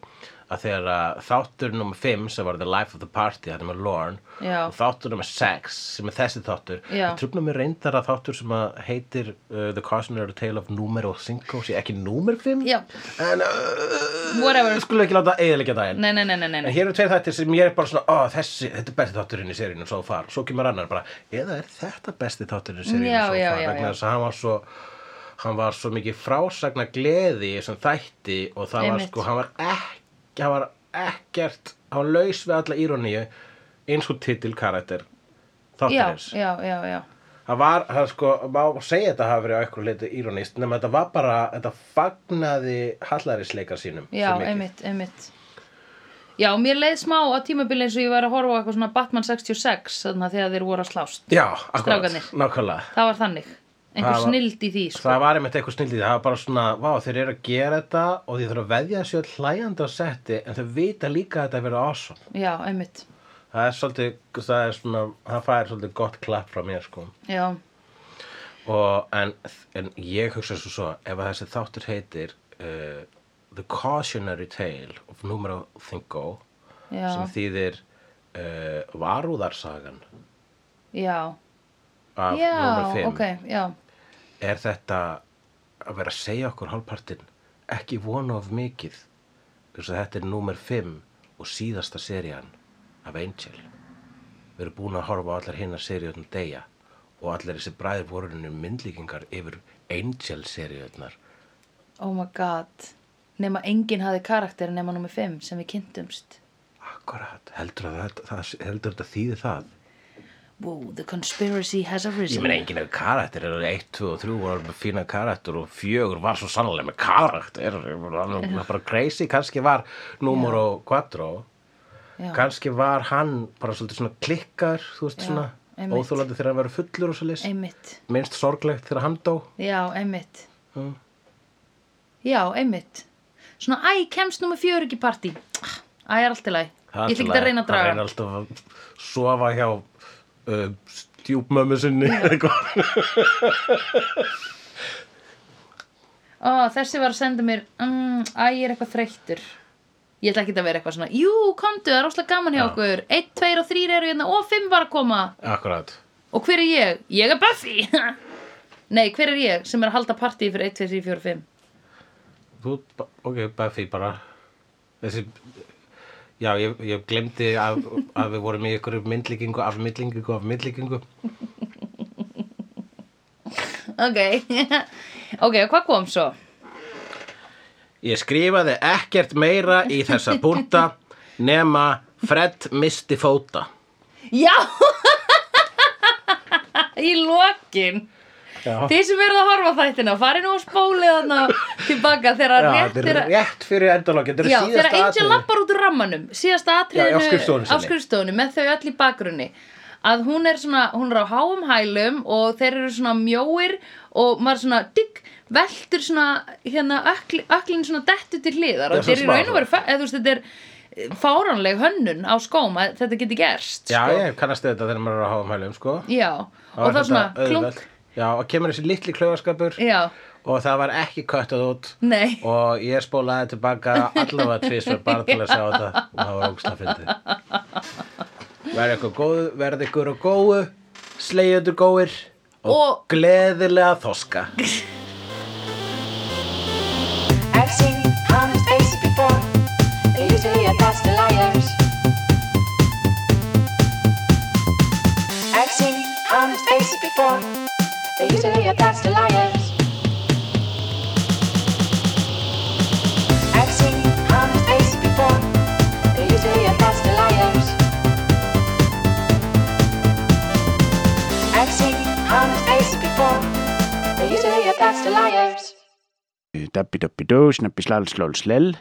[SPEAKER 3] að þegar að þáttur nummer 5 sem var The Life of the Party, hann er með Lorne
[SPEAKER 1] Já.
[SPEAKER 3] og þáttur nummer 6 sem er þessi þáttur
[SPEAKER 1] Já.
[SPEAKER 3] það trufna mér reyndar að þáttur sem að heitir uh, The Cautionary Tale of Numero 5 sé ekki númer 5
[SPEAKER 1] Já.
[SPEAKER 3] en uh,
[SPEAKER 1] Whatever.
[SPEAKER 3] við skulum ekki láta eðilegja daginn
[SPEAKER 1] nei, nei, nei, nei, nei,
[SPEAKER 3] en
[SPEAKER 1] nei.
[SPEAKER 3] hér eru tveir þættir sem ég er bara svona ó, þessi, þetta er besti þátturinn í seríunum svo far svo kemur annar bara, eða er þetta besti þátturinn í seríunum
[SPEAKER 1] Já,
[SPEAKER 3] svo
[SPEAKER 1] já,
[SPEAKER 3] far
[SPEAKER 1] já, já.
[SPEAKER 3] vegna þess að hann var svo hann var svo mikið frásagna gleði sem þætti og það var
[SPEAKER 1] Einmitt.
[SPEAKER 3] sko, hann var ekki hann var ekkert, hann var laus við alla íroníu eins og titil karakter
[SPEAKER 1] já,
[SPEAKER 3] þáttarins
[SPEAKER 1] já, já, já.
[SPEAKER 3] það var, það sko, má segja þetta hafa verið á eitthvað leitu íronist, nema þetta var bara þetta fagnaði hallarisleika sínum
[SPEAKER 1] Já,
[SPEAKER 3] svo mikið.
[SPEAKER 1] einmitt, einmitt. Já, mér leið smá á tímabili eins og ég var að horfa á eitthvað svona Batman 66 þannig að þegar þeir voru að slást.
[SPEAKER 3] Já, akkurat,
[SPEAKER 1] Strákarnir.
[SPEAKER 3] nákvæmlega
[SPEAKER 1] Það var þannig. Einhver
[SPEAKER 3] Það var-
[SPEAKER 1] snild í því, sko.
[SPEAKER 3] Það var einmitt eitthvað snillið, það var bara svona, vá, þeir eru að gera þetta og þeir þurfa að veðja þessu öll hlæjandi á setti en þau vita líka að þetta verður awesome.
[SPEAKER 1] Já, einmitt.
[SPEAKER 3] Það er svolítið, það er svona, það fær svolítið gott klapp frá mér, sko.
[SPEAKER 1] Já,
[SPEAKER 3] Og, en, en ég hugsa svo svo, ef að þessi þáttur heitir uh, The Cautionary Tale of Numero Thingo,
[SPEAKER 1] já,
[SPEAKER 3] sem þýðir uh, varúðarsagan
[SPEAKER 1] já.
[SPEAKER 3] af
[SPEAKER 1] Já,
[SPEAKER 3] Numero 5.
[SPEAKER 1] ok, já.
[SPEAKER 3] er þetta að vera að segja okkur hálfpartin ekki vona of mikið þess að þetta er númer 5 og síðasta serían af Angel við erum búin að horfa á allar hinnar seríunar deyja og allar þessi bræður vorunum myndlíkingar yfir Angel seríunar
[SPEAKER 1] Oh my god. Nema enginn hafi karakter nema nummer 5 sem við kynntumst.
[SPEAKER 3] akkurat, heldur að þetta, það, heldur þetta þýði það
[SPEAKER 1] Wow, the conspiracy has arisen.
[SPEAKER 3] ég meina enginn hefur karakter er alveg 1, 2 og 3 voru með fína karakter og 4 var svo sannlega með karakter Ég meina, hann var bara crazy, kannski var númer og 4
[SPEAKER 1] Já,
[SPEAKER 3] kannski var hann bara svolítið svona klikkar þú veist
[SPEAKER 1] Já,
[SPEAKER 3] svona
[SPEAKER 1] einmitt.
[SPEAKER 3] óþólandi þegar hann verið fullur og svo leys
[SPEAKER 1] einmitt.
[SPEAKER 3] minnst sorglegt þegar hann dó
[SPEAKER 1] Já, einmitt.
[SPEAKER 3] Mm.
[SPEAKER 1] Já, einmitt. Svona, æ, kemst nummer 4 ekki í partí. Ah, Æ, er allt í lagi.
[SPEAKER 3] Það
[SPEAKER 1] Ég ætla ekki að reyna að
[SPEAKER 3] hann
[SPEAKER 1] draga.
[SPEAKER 3] reyna alltaf að sofa hjá uh, stjúpmömmu sinni eða eitthvað.
[SPEAKER 1] Ó, þessi var að senda mér, mm, æ, ég er eitthvað þreyttur. Ég ætla ekki að vera eitthvað svona, jú, komdu, það er óslega gaman hjá okkur. 1, 2 og 3 eru hérna og 5 var að koma.
[SPEAKER 3] akkurat
[SPEAKER 1] Og hver er ég? Ég er Buffy. Nei, hver er ég sem er að halda partí fyrir 1, 2, 3, 4, 5?
[SPEAKER 3] þú, ba- ok, Buffy bara þessi já, ég, ég glemdi að, að við vorum í ykkur myndlíkingu af myndlíkingu af myndlíkingu
[SPEAKER 1] Ok, ok, og hvað kom svo?
[SPEAKER 3] Ég skrifaði ekkert meira í þessa búnta nema Fred misti fóta
[SPEAKER 1] Já Í lokin
[SPEAKER 3] Já.
[SPEAKER 1] Þið sem eruð að horfa á þættina farið nú og spólið þarna tilbaka þegar
[SPEAKER 3] Já,
[SPEAKER 1] rétt
[SPEAKER 3] þetta er
[SPEAKER 1] er að
[SPEAKER 3] rétt fyrir endalokk, þetta er
[SPEAKER 1] Já, þegar Angel
[SPEAKER 3] síðasta atriði.
[SPEAKER 1] lappar út úr rammanum síðasta
[SPEAKER 3] Já,
[SPEAKER 1] atriðinu
[SPEAKER 3] á skrifstofunni sinni.
[SPEAKER 1] á skrifstofunni með þau öll í bakgrunni að hún er svona, hún er á háum hælum og þeir eru svona mjóir og maður svona digg veltur svona, hérna, ökli, öklin svona dettu til hliðar
[SPEAKER 3] Já,
[SPEAKER 1] og þeir
[SPEAKER 3] svona
[SPEAKER 1] eru raun
[SPEAKER 3] smá.
[SPEAKER 1] og verið, eða þú veist, þetta er eh, fáránleg hönnun á skóm að þetta geti gerst
[SPEAKER 3] Já,
[SPEAKER 1] sko.
[SPEAKER 3] ég kannast við þetta þegar maður er að hafa mælum, sko.
[SPEAKER 1] Já,
[SPEAKER 3] Þá
[SPEAKER 1] og
[SPEAKER 3] er
[SPEAKER 1] það
[SPEAKER 3] þetta
[SPEAKER 1] svona
[SPEAKER 3] auðvelt.
[SPEAKER 1] klunk
[SPEAKER 3] Já, og kemur þessi litli klaugaskapur
[SPEAKER 1] Já,
[SPEAKER 3] og það var ekki köttað út
[SPEAKER 1] nei,
[SPEAKER 3] og ég spólaði tilbaka allavega tvisvar bara til að sjá þetta og það var ógst að fyndi. Verði ykkur góðu, verði ykkur og góðu, slegjöður góðir og,
[SPEAKER 1] Og-
[SPEAKER 3] gleðilega þoska.
[SPEAKER 5] I've seen honest faces before. They're usually a pass to liars. I've seen honest faces before. They're usually a pass to liars. I've seen honest faces before. They're usually a pass to liars. I've seen honest faces before. They're usually a pass to liars.
[SPEAKER 6] Dabbi dabbi dó, snabbi slal slól slell